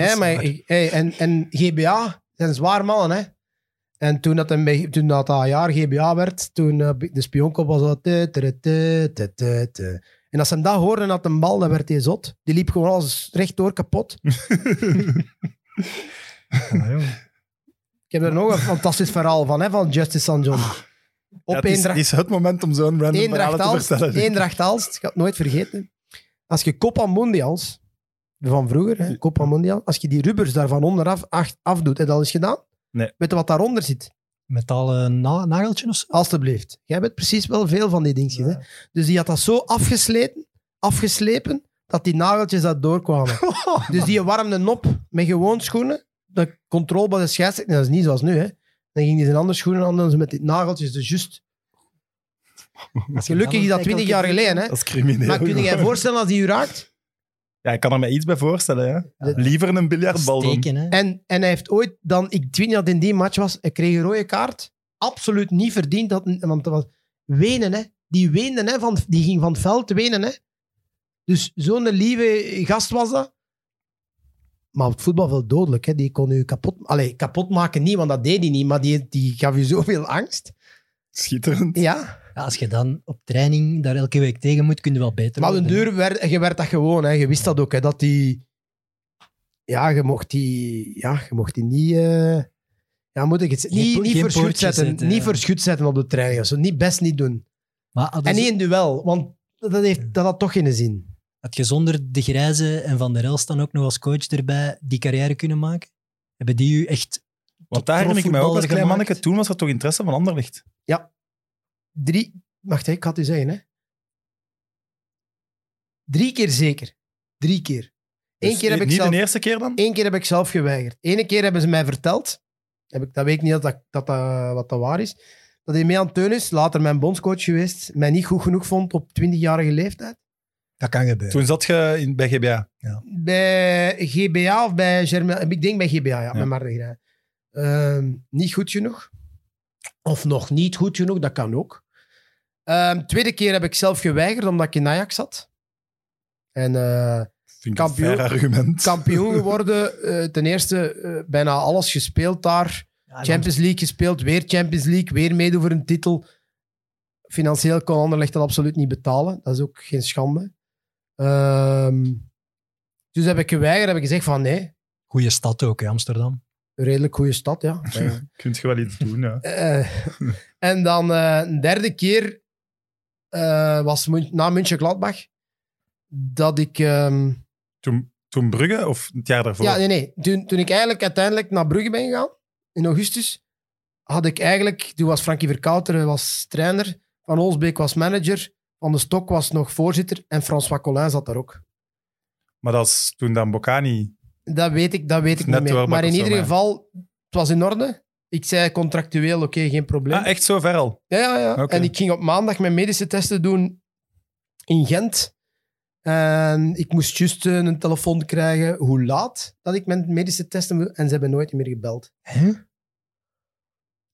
Speaker 4: Ja,
Speaker 2: is
Speaker 4: maar
Speaker 2: waar.
Speaker 4: ik- hey, en, en GBA zijn zwaar mannen, hè. En toen dat, hem bij- toen dat, dat jaar GBA werd, toen eh, de spionkop was dat... te, te, te, te, te, te. En als ze hem dat hoorden had een bal, dan werd hij zot. Die liep gewoon alles rechtdoor kapot. Ik heb er nog een fantastisch verhaal van, hè, van Justice San John.
Speaker 2: Ah.
Speaker 1: Ja,
Speaker 4: Op
Speaker 1: het, is,
Speaker 4: Eendracht-
Speaker 1: is het moment om zo'n random verhaal
Speaker 4: Eendracht
Speaker 1: te
Speaker 4: Aalst,
Speaker 1: vertellen.
Speaker 4: Eendracht Aalst, ik ga het nooit vergeten. Als je Copa Mondials, van vroeger, hè, Copa Mondial, als je die rubbers daarvan onderaf ach- afdoet, heb je dat eens gedaan?
Speaker 1: Nee.
Speaker 4: Weet je wat daaronder zit?
Speaker 2: Metalen na nageltje of zo?
Speaker 4: Alsjeblieft. Jij weet precies wel veel van die dingetjes. Hè? Dus die had dat zo afgesleten, afgeslepen, dat die nageltjes dat doorkwamen. dus die warmde op met gewoon schoenen. De controle bij de scheidsrechter, dat is niet zoals nu. Hè? Dan ging hij zijn andere schoenen aan doen, ze met die nageltjes. Dus juist. Gelukkig is dat 20 jaar geleden. Hè?
Speaker 1: Dat is crimineel.
Speaker 4: Maar kun je je
Speaker 1: gewoon.
Speaker 4: voorstellen als die u raakt?
Speaker 1: Ja, ik kan er me iets bij voorstellen. Hè.
Speaker 4: Ja.
Speaker 1: Liever een biljartbal dan.
Speaker 2: Steken, hè.
Speaker 4: En, en hij heeft ooit dan, ik weet niet dat het in die match was, hij kreeg een rode kaart. Absoluut niet verdiend. Dat, want dat was wenen, hè. Die weende, hè, van, die ging van het veld wenen, hè. Dus zo'n lieve gast was dat. Maar op het voetbalveld dodelijk, hè. Die kon u kapot... Allee, kapot maken niet, want dat deed hij niet. Maar die, die gaf u zoveel angst.
Speaker 1: Schitterend.
Speaker 4: Ja.
Speaker 2: Ja, als je dan op training daar elke week tegen moet, kun je wel beter
Speaker 4: Maar een
Speaker 2: worden, hè.
Speaker 4: deur werd, je werd dat gewoon, hè. Je wist dat ook, hè. Dat die... Ja, je mocht die... Ja, je mocht die niet... eh, ja, moet ik het
Speaker 2: Geen
Speaker 4: niet,
Speaker 2: po-
Speaker 4: niet
Speaker 2: geen
Speaker 4: voor schut
Speaker 2: poortjes
Speaker 4: zetten.
Speaker 2: zetten,
Speaker 4: niet
Speaker 2: ja.
Speaker 4: voor schut zetten op de training. of zo. Niet best niet doen.
Speaker 2: Maar hadden
Speaker 4: en
Speaker 2: ze-
Speaker 4: niet in duel, want dat, heeft, dat had toch geen zin.
Speaker 2: had je zonder de Grijze en Van der Elst dan ook nog als coach erbij die carrière kunnen maken? Hebben die u echt...
Speaker 1: Want daar herinner ik me ook als klein
Speaker 2: Profvoetballer
Speaker 1: manneke.
Speaker 2: gemaakt.
Speaker 1: Toen was er toch interesse van Anderlicht.
Speaker 4: Drie... Wacht, hè, ik had het u zeggen, hè. Drie keer zeker. Drie keer. Eén
Speaker 1: Dus
Speaker 4: keer heb
Speaker 1: niet-
Speaker 4: ik
Speaker 1: Niet
Speaker 4: zelf...
Speaker 1: de eerste keer dan?
Speaker 4: Eén keer heb ik zelf geweigerd. Eén keer hebben ze mij verteld. Heb ik, dat weet ik niet dat dat, dat, dat- wat dat waar is. Dat hij mee aan het teun is, later mijn bondscoach geweest, mij niet goed genoeg vond op 20-jarige leeftijd.
Speaker 2: Dat kan gebeuren.
Speaker 1: Toen zat je in, bij GBA.
Speaker 4: Bij GBA of bij Germain... Ik denk bij GBA, ja,
Speaker 1: Ja.
Speaker 4: met Martin Grijn. Ehm, niet goed genoeg. Of nog niet goed genoeg, dat kan ook. Ehm, tweede keer heb ik zelf geweigerd, omdat ik in Ajax zat. En... eh,
Speaker 1: Vind ik
Speaker 4: Kampioen.
Speaker 1: een fair argument.
Speaker 4: kampioen geworden. eh, ten eerste eh, bijna alles gespeeld daar.
Speaker 2: Ja, en
Speaker 4: Champions League gespeeld, weer Champions League, weer meedoen voor een titel. Financieel kon Anderlecht dat absoluut niet betalen. Dat is ook geen schande. Ehm, dus heb ik geweigerd, heb ik gezegd van nee,
Speaker 2: Goeie stad ook, hè, Amsterdam.
Speaker 4: een redelijk goede stad, ja.
Speaker 1: Kunt je wel iets doen, ja.
Speaker 4: Eh, en dan eh, een derde keer eh, was Mun- na München Gladbach dat ik... ehm,
Speaker 1: Toen, toen Brugge of het jaar daarvoor?
Speaker 4: Ja, nee, nee. Toen, toen ik eigenlijk uiteindelijk naar Brugge ben gegaan, in augustus, had ik eigenlijk... Toen was Frankie Verkouter hij was trainer, Van Olsbeek was manager, Van de Stok was nog voorzitter en François Collin zat daar ook.
Speaker 1: Maar dat is toen dan Bocani.
Speaker 4: Dat weet ik, dat weet ik
Speaker 1: Net
Speaker 4: niet meer.
Speaker 1: doorbak
Speaker 4: Maar in
Speaker 1: of zo,
Speaker 4: ieder
Speaker 1: maar.
Speaker 4: geval, het was in orde. Ik zei contractueel, oké, geen probleem.
Speaker 1: Ah, echt zo ver al?
Speaker 4: Ja, ja, ja.
Speaker 1: Oké.
Speaker 4: En ik ging op maandag mijn medische testen doen in Gent. En ik moest juist eh, een telefoon krijgen hoe laat dat ik mijn medische testen wil. En ze hebben nooit meer gebeld.
Speaker 2: Hè?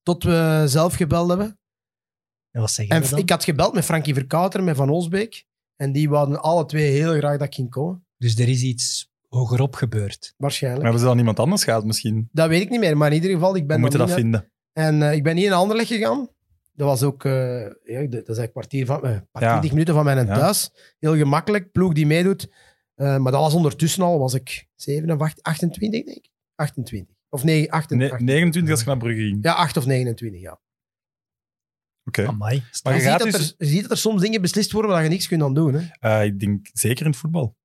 Speaker 4: Tot we zelf gebeld hebben.
Speaker 2: En wat zeg je
Speaker 4: En
Speaker 2: dan?
Speaker 4: ik had gebeld met Frankie Verkouter, met Van Olsbeek. En die wouden alle twee heel graag dat ik ging komen.
Speaker 2: Dus er is iets hogerop gebeurd.
Speaker 1: Maar
Speaker 4: Waarschijnlijk.
Speaker 1: hebben ze dan iemand anders gehaald misschien?
Speaker 4: Dat weet ik niet meer, maar in ieder geval, ik
Speaker 1: We
Speaker 4: ben
Speaker 1: moeten
Speaker 4: dan
Speaker 1: dat
Speaker 4: niet
Speaker 1: vinden.
Speaker 4: En eh, ik ben hier naar Anderlecht gegaan. Dat was ook eh, ja, dat is eigenlijk kwartier van, eh, een paar
Speaker 1: Ja.
Speaker 4: 20 minuten van mijn
Speaker 1: Ja.
Speaker 4: thuis. Heel gemakkelijk, ploeg die meedoet. Eh, maar dat was ondertussen al, was ik 27, 28 denk ik. 28. Of nee,
Speaker 1: Ne-
Speaker 4: 28.
Speaker 1: 29 als je naar Brugge ging.
Speaker 4: Ja, 8 of 29, ja.
Speaker 1: Oké.
Speaker 2: Amai.
Speaker 1: Maar
Speaker 4: Je
Speaker 1: je
Speaker 4: ziet,
Speaker 1: gaat
Speaker 4: dat
Speaker 1: dus...
Speaker 4: er, je ziet dat er soms dingen beslist worden waar je niks kunt aan doen. Hè.
Speaker 1: eh, ik denk zeker in het voetbal.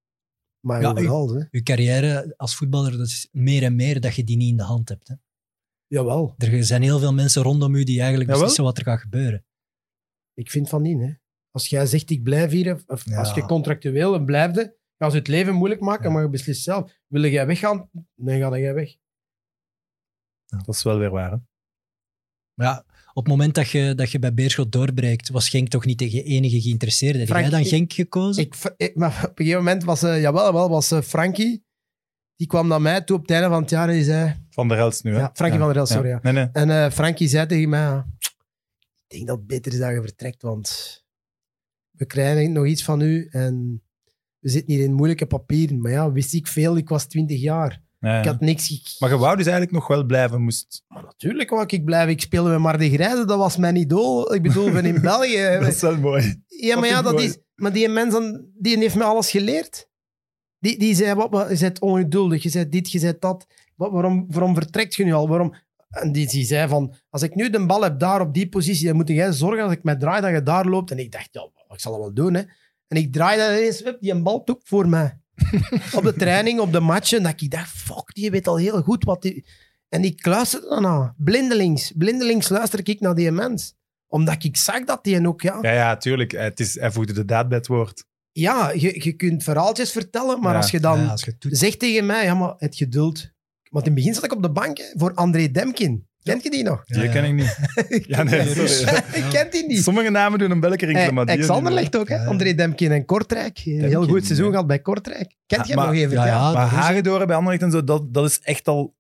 Speaker 4: Maar
Speaker 2: Ja,
Speaker 4: overal. Hè.
Speaker 2: Je carrière als voetballer, dat is meer en meer dat je die niet in de hand hebt. Hè?
Speaker 4: Jawel.
Speaker 2: Er zijn heel veel mensen rondom u die eigenlijk
Speaker 1: Jawel.
Speaker 2: beslissen wat er gaat gebeuren.
Speaker 4: Ik vind van niet. Hè. Als jij zegt, ik blijf hier, of
Speaker 2: Ja.
Speaker 4: als je contractueel een blijfde, gaan ze het leven moeilijk maken, maar je beslist zelf. Wil jij weggaan? Dan ga jij weg.
Speaker 1: Dat is wel weer waar. Hè?
Speaker 2: Maar ja, op het moment dat je, dat je bij Beerschot doorbreekt, was Genk toch niet tegen enige geïnteresseerd. Heb
Speaker 4: Frank,
Speaker 2: jij dan
Speaker 4: ik-
Speaker 2: Genk gekozen?
Speaker 4: Ik, ik- maar op een gegeven moment was, eh jawel, wel, was eh, Frankie, die kwam naar mij toe op het einde van het jaar en die zei...
Speaker 1: Van der Helst nu. Hè?
Speaker 4: Ja, Frankie van der Elst, sorry. Ja.
Speaker 1: Nee, nee.
Speaker 4: En eh, Frankie zei tegen mij, ja, ik denk dat het beter is dat je vertrekt, want we krijgen nog iets van u en we zitten hier in moeilijke papieren. Maar ja, wist ik veel, ik was 20 jaar.
Speaker 1: Ja, ja.
Speaker 4: Ik had niks... Ik...
Speaker 1: Maar je wou dus eigenlijk nog wel blijven, moest.
Speaker 4: Maar natuurlijk wou ik blijven. Ik speelde met Mar de Grijze, dat was mijn idool. Ik bedoel, ben in België.
Speaker 1: Dat is wel mooi.
Speaker 4: Ja,
Speaker 1: Dat
Speaker 4: maar ja,
Speaker 1: vind ik
Speaker 4: dat
Speaker 1: mooi.
Speaker 4: is, maar die mens dan, die heeft me alles geleerd. Die, die zei, wat, wat- je bent ongeduldig, je bent dit, je bent dat. Wat, waarom, waarom vertrekt je nu al? Waarom? En die, die zei van, als ik nu de bal heb daar op die positie, dan moet jij zorgen als ik mij draai dat je daar loopt. En ik dacht, ja, ik zal dat wel doen. Hè. En ik draaide en ineens, hup, die een bal toek voor mij. op de training, op de matchen. Dat ik dacht, fuck, die weet al heel goed wat die... En ik luisterde daarna, blindelings. Blindelings luister ik naar die mens. Omdat ik zag dat die ook, ja...
Speaker 1: Ja, ja, tuurlijk. Eh, Het is, hij voegde de daad bij het woord.
Speaker 4: Ja, je, je kunt verhaaltjes vertellen, maar
Speaker 1: Ja.
Speaker 4: als je dan
Speaker 2: Ja, als je het doet.
Speaker 4: zegt tegen mij, ja, maar het geduld. Want in het begin zat ik op de bank hè, voor André Demkin. Kent je die nog?
Speaker 1: Die
Speaker 2: Ja,
Speaker 1: ken
Speaker 2: ja.
Speaker 1: ik niet. Ja, nee, sorry.
Speaker 4: ik kent die niet. Eh,
Speaker 1: Sommige namen doen een belletje rinkelen, maar die-
Speaker 4: Alexander legt ook, hè?
Speaker 2: Ja.
Speaker 4: André Demkin en Kortrijk. Een heel goed seizoen
Speaker 1: ja.
Speaker 4: gehad bij Kortrijk.
Speaker 1: Ja,
Speaker 4: Kent jij
Speaker 1: maar-
Speaker 4: nog even?
Speaker 2: ja, ja,
Speaker 1: Maar
Speaker 4: Ah,
Speaker 2: dat
Speaker 4: dus-
Speaker 2: is-
Speaker 1: Hagedoren bij Anderlecht en zo, dat, dat is echt al...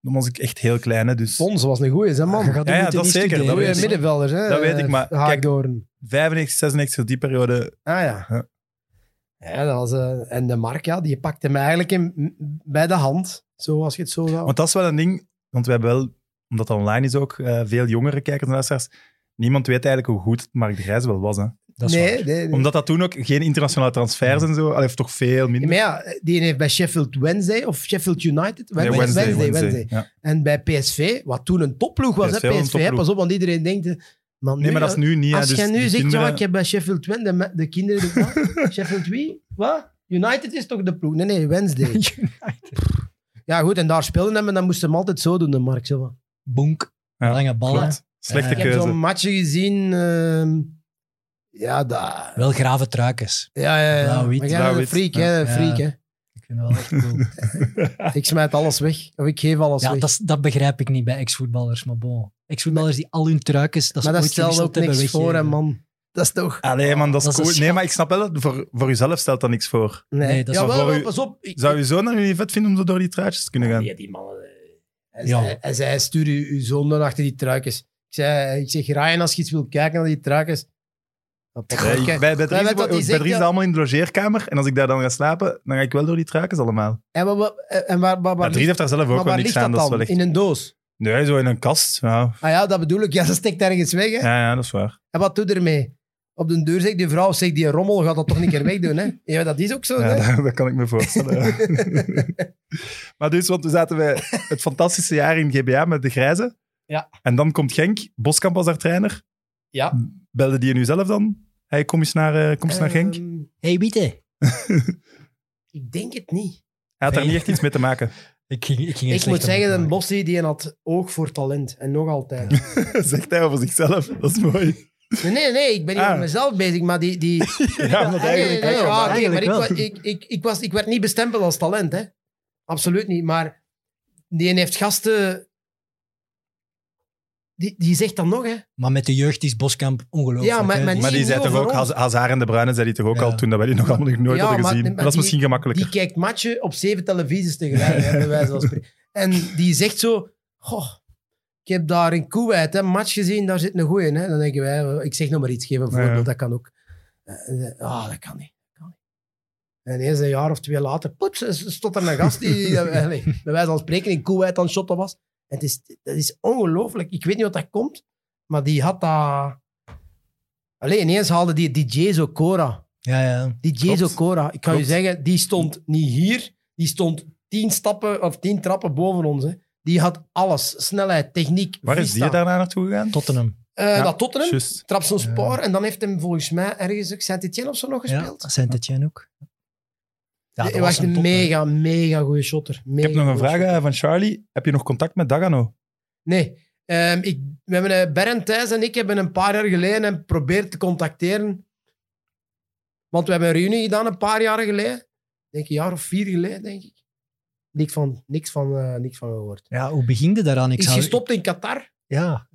Speaker 1: Dan was ik echt heel klein, hè, dus...
Speaker 4: Fons was een goeie, hè, man.
Speaker 2: je gaat
Speaker 1: Ja, ja,
Speaker 2: moeten
Speaker 1: dat
Speaker 2: niet
Speaker 1: zeker, dat
Speaker 2: studeren.
Speaker 4: goeie
Speaker 1: weet ik.
Speaker 4: middenvelders, hè?
Speaker 1: Dat weet ik, maar kijk-
Speaker 4: Haakdoorn.
Speaker 1: 95, 96, die periode.
Speaker 4: Ah ja.
Speaker 1: Ja.
Speaker 4: Ja, dat was, eh, en de Mark, ja, die pakte mij eigenlijk in, bij de hand. Zo, als je het zo zou...
Speaker 1: Want dat is wel een ding, want we hebben wel, omdat dat online is ook, eh, veel jongere kijkers en luisteraars, niemand weet eigenlijk hoe goed Mark de Grijs wel was. Hè.
Speaker 2: Dat is
Speaker 4: nee,
Speaker 2: waar.
Speaker 4: nee, nee.
Speaker 1: Omdat dat toen ook geen internationale transfers en zo, allee, of toch veel
Speaker 4: Ja,
Speaker 1: minder.
Speaker 4: maar ja, die heeft bij Sheffield Wednesday of Sheffield United.
Speaker 1: Nee,
Speaker 4: Wednesday, Wednesday, Wednesday.
Speaker 1: Ja.
Speaker 4: En bij PSV, wat toen een topploeg was.
Speaker 1: PSV
Speaker 4: hè,
Speaker 1: was een
Speaker 4: PSV, hè,
Speaker 1: topploeg.
Speaker 4: pas op, want iedereen denkt. eh, Maar nu,
Speaker 1: Nee, maar dat is nu niet. hè,
Speaker 4: als
Speaker 1: dus
Speaker 4: jij nu
Speaker 1: die
Speaker 4: zegt, ja,
Speaker 1: kinderen-
Speaker 4: ik heb bij Sheffield Wednesday de, de kinderen. doen, wat? Sheffield wie? Wat? United is toch de ploeg? Nee, nee, Wednesday. ja, goed, en daar speelden hem en dan moesten hem altijd zo doen, de Mark. Zo. van.
Speaker 2: Bonk,
Speaker 1: Ja,
Speaker 2: lange ballen.
Speaker 1: Klopt. Slechte
Speaker 2: Ja.
Speaker 4: Ik heb
Speaker 1: keuze.
Speaker 4: zo'n matchje gezien. ehm, ja, daar.
Speaker 2: Wel grave truikens.
Speaker 4: Ja, ja, ja.
Speaker 2: Blauw-wit.
Speaker 4: Maar jij bent een
Speaker 1: Blauw-wit.
Speaker 4: freak, hè?
Speaker 2: Ja.
Speaker 4: Een freak,
Speaker 2: Ja.
Speaker 4: hè?
Speaker 2: Ik vind dat wel echt cool.
Speaker 4: Ik smijt alles weg. Of ik geef alles
Speaker 2: ja,
Speaker 4: weg.
Speaker 2: dat, is- dat begrijp ik niet bij ex-voetballers, maar bon. Ex-voetballers die al hun truikens, dat ze
Speaker 4: maar dat
Speaker 2: ooit
Speaker 4: stelt
Speaker 2: gewisseld
Speaker 4: ook
Speaker 2: hebben,
Speaker 4: niks voor, hè,
Speaker 2: weggeven.
Speaker 4: man. Dat is toch...
Speaker 1: Allee, man, dat is
Speaker 2: Dat is een
Speaker 1: cool. Nee,
Speaker 2: schat.
Speaker 1: maar ik snap wel, voor, voor jezelf stelt dat niks voor.
Speaker 4: Nee,
Speaker 2: Nee, dat is
Speaker 4: ja,
Speaker 1: wel
Speaker 4: wel,
Speaker 1: voor
Speaker 4: wel,
Speaker 1: u-
Speaker 4: pas op. Ik-
Speaker 1: Zou je zoon dan niet vet vinden om zo door die truitjes te kunnen gaan?
Speaker 4: Ja, die mannen... eh, Hij
Speaker 2: Ja.
Speaker 4: zei, hij zei, stuur je, je zoon dan achter die truikens. Ik, zei, eh, ik zeg, Ryan, als je iets wil kijken naar die truikens... Ja, pas op,
Speaker 1: Nee, ik-
Speaker 4: kijk.
Speaker 1: bij bij
Speaker 4: Ja,
Speaker 1: Dries
Speaker 4: wat hij
Speaker 1: bij
Speaker 4: zegt,
Speaker 1: Dries
Speaker 4: ja.
Speaker 1: is allemaal in de logeerkamer. En als ik daar dan ga slapen, dan ga ik wel door die truikens allemaal.
Speaker 4: En, waar, waar- en waar, waar,
Speaker 1: Maar
Speaker 4: waar,
Speaker 1: Dries heeft daar zelf
Speaker 4: maar
Speaker 1: ook wel
Speaker 4: waar
Speaker 1: niks
Speaker 4: ligt
Speaker 1: aan.
Speaker 4: dat
Speaker 1: Dat is
Speaker 4: dan?
Speaker 1: wel echt...
Speaker 4: In een doos?
Speaker 1: Nee, zo in een kast. Ja,
Speaker 4: Ah ja, dat bedoel ik. Ja, dat steekt ergens weg, hè.
Speaker 1: ja, ja dat is waar.
Speaker 4: En wat doe je ermee? Op de deur zegt die vrouw, zeg, die rommel gaat dat toch niet keer wegdoen, hè? Ja, dat is ook zo,
Speaker 1: Ja,
Speaker 4: hè?
Speaker 1: dat, dat kan ik me voorstellen. ja. maar dus, want we zaten bij het fantastische jaar in GBA met de Grijze.
Speaker 4: Ja.
Speaker 1: En dan komt Genk. Boskamp was daar trainer.
Speaker 4: Ja.
Speaker 1: Belde die je nu zelf dan? Hey, kom eens naar, eh, kom eens naar Genk. Hij
Speaker 4: Ehm,
Speaker 2: hey, Wiete.
Speaker 4: ik denk het niet.
Speaker 1: had daar
Speaker 2: nee.
Speaker 1: niet echt iets mee te maken.
Speaker 2: Ik ging, ik ging een
Speaker 4: Ik moet
Speaker 2: slechte
Speaker 4: zeggen,
Speaker 2: mop
Speaker 4: een
Speaker 2: maken.
Speaker 4: Bossie, die had oog voor talent. En nog altijd.
Speaker 1: Zegt hij over zichzelf. Dat is mooi.
Speaker 4: Nee, nee, nee, ik ben niet
Speaker 1: Ah.
Speaker 4: met mezelf bezig, maar die... die
Speaker 1: Ja, maar
Speaker 4: Nee, nee,
Speaker 1: eigenlijk
Speaker 4: nee,
Speaker 1: wel.
Speaker 4: ja, oké,
Speaker 2: Eigenlijk
Speaker 4: maar ik,
Speaker 2: wel.
Speaker 4: wa- ik, ik, ik, was, ik werd niet bestempeld als talent, hè. Absoluut niet, maar die heeft gasten... Die, die zegt dan nog, hè.
Speaker 2: Maar met de jeugd is Boskamp ongelooflijk.
Speaker 4: Ja, maar-
Speaker 2: hè.
Speaker 4: maar
Speaker 2: Die-
Speaker 1: Maar die
Speaker 4: niet
Speaker 1: zei toch
Speaker 4: over
Speaker 1: ook,
Speaker 4: ons.
Speaker 1: Haz- Hazard en De Bruyne zei die toch ook
Speaker 2: Ja.
Speaker 1: al toen, dat wij die nog allemaal nog nooit
Speaker 4: Ja,
Speaker 1: hadden
Speaker 4: maar-
Speaker 1: gezien.
Speaker 4: maar
Speaker 1: maar dat is
Speaker 4: die-
Speaker 1: misschien gemakkelijker.
Speaker 4: Die kijkt matchen op zeven televisies tegelijk, hè, bij wijze van spreken. En die zegt zo... Goh, ik heb daar in Kuwait hè, een match gezien, daar zit een goeie in. Hè. Dan denken wij, eh, ik zeg nog maar iets, geef een
Speaker 1: Ja, ja.
Speaker 4: voorbeeld, dat kan ook. Eh, eh, Ah, dat kan niet. dat kan niet. En eens een jaar of twee later, poeps, stond er een gast die eh, allee, bij wijze van spreken in Kuwait aan het shotten was. Het is, dat is ongelooflijk. Ik weet niet wat dat komt, maar die had dat... Allee, ineens haalde die DJ zo Cora.
Speaker 2: Ja, ja.
Speaker 4: Die Jezo
Speaker 1: Klopt.
Speaker 4: Cora, ik kan
Speaker 1: Klopt.
Speaker 4: je zeggen, die stond niet hier. Die stond tien stappen of tien trappen boven ons. Hè. Die had alles. Snelheid, techniek,
Speaker 1: Waar is
Speaker 4: vista.
Speaker 1: die daarna naartoe gegaan?
Speaker 2: Tottenham.
Speaker 4: Eh,
Speaker 1: Ja,
Speaker 4: Dat Tottenham,
Speaker 1: Juist.
Speaker 4: Trabzonspor. En dan heeft hem volgens mij ergens ook Saint-Etienne of zo nog
Speaker 2: Ja,
Speaker 4: gespeeld.
Speaker 2: Saint-Etienne ook. Ja,
Speaker 4: Hij
Speaker 2: dat
Speaker 4: was
Speaker 2: was
Speaker 4: een
Speaker 2: top, hè.
Speaker 4: mega, mega goede shotter.
Speaker 1: Ik heb nog een vraag
Speaker 4: aan.
Speaker 1: eh, van Charlie. Heb je nog contact met Dagano?
Speaker 4: Nee. Ehm, ik, we hebben, eh, Bernd Thijs en ik hebben een paar jaar geleden hem geprobeerd te contacteren. Want we hebben een reunie gedaan een paar jaar geleden. Ik Denk een jaar of vier geleden, denk ik. Niks van, niks van, eh, niks van gehoord.
Speaker 2: Ja, hoe begin je daaraan? Ik
Speaker 4: is
Speaker 2: zou-
Speaker 4: gestopt in Qatar
Speaker 2: Ja,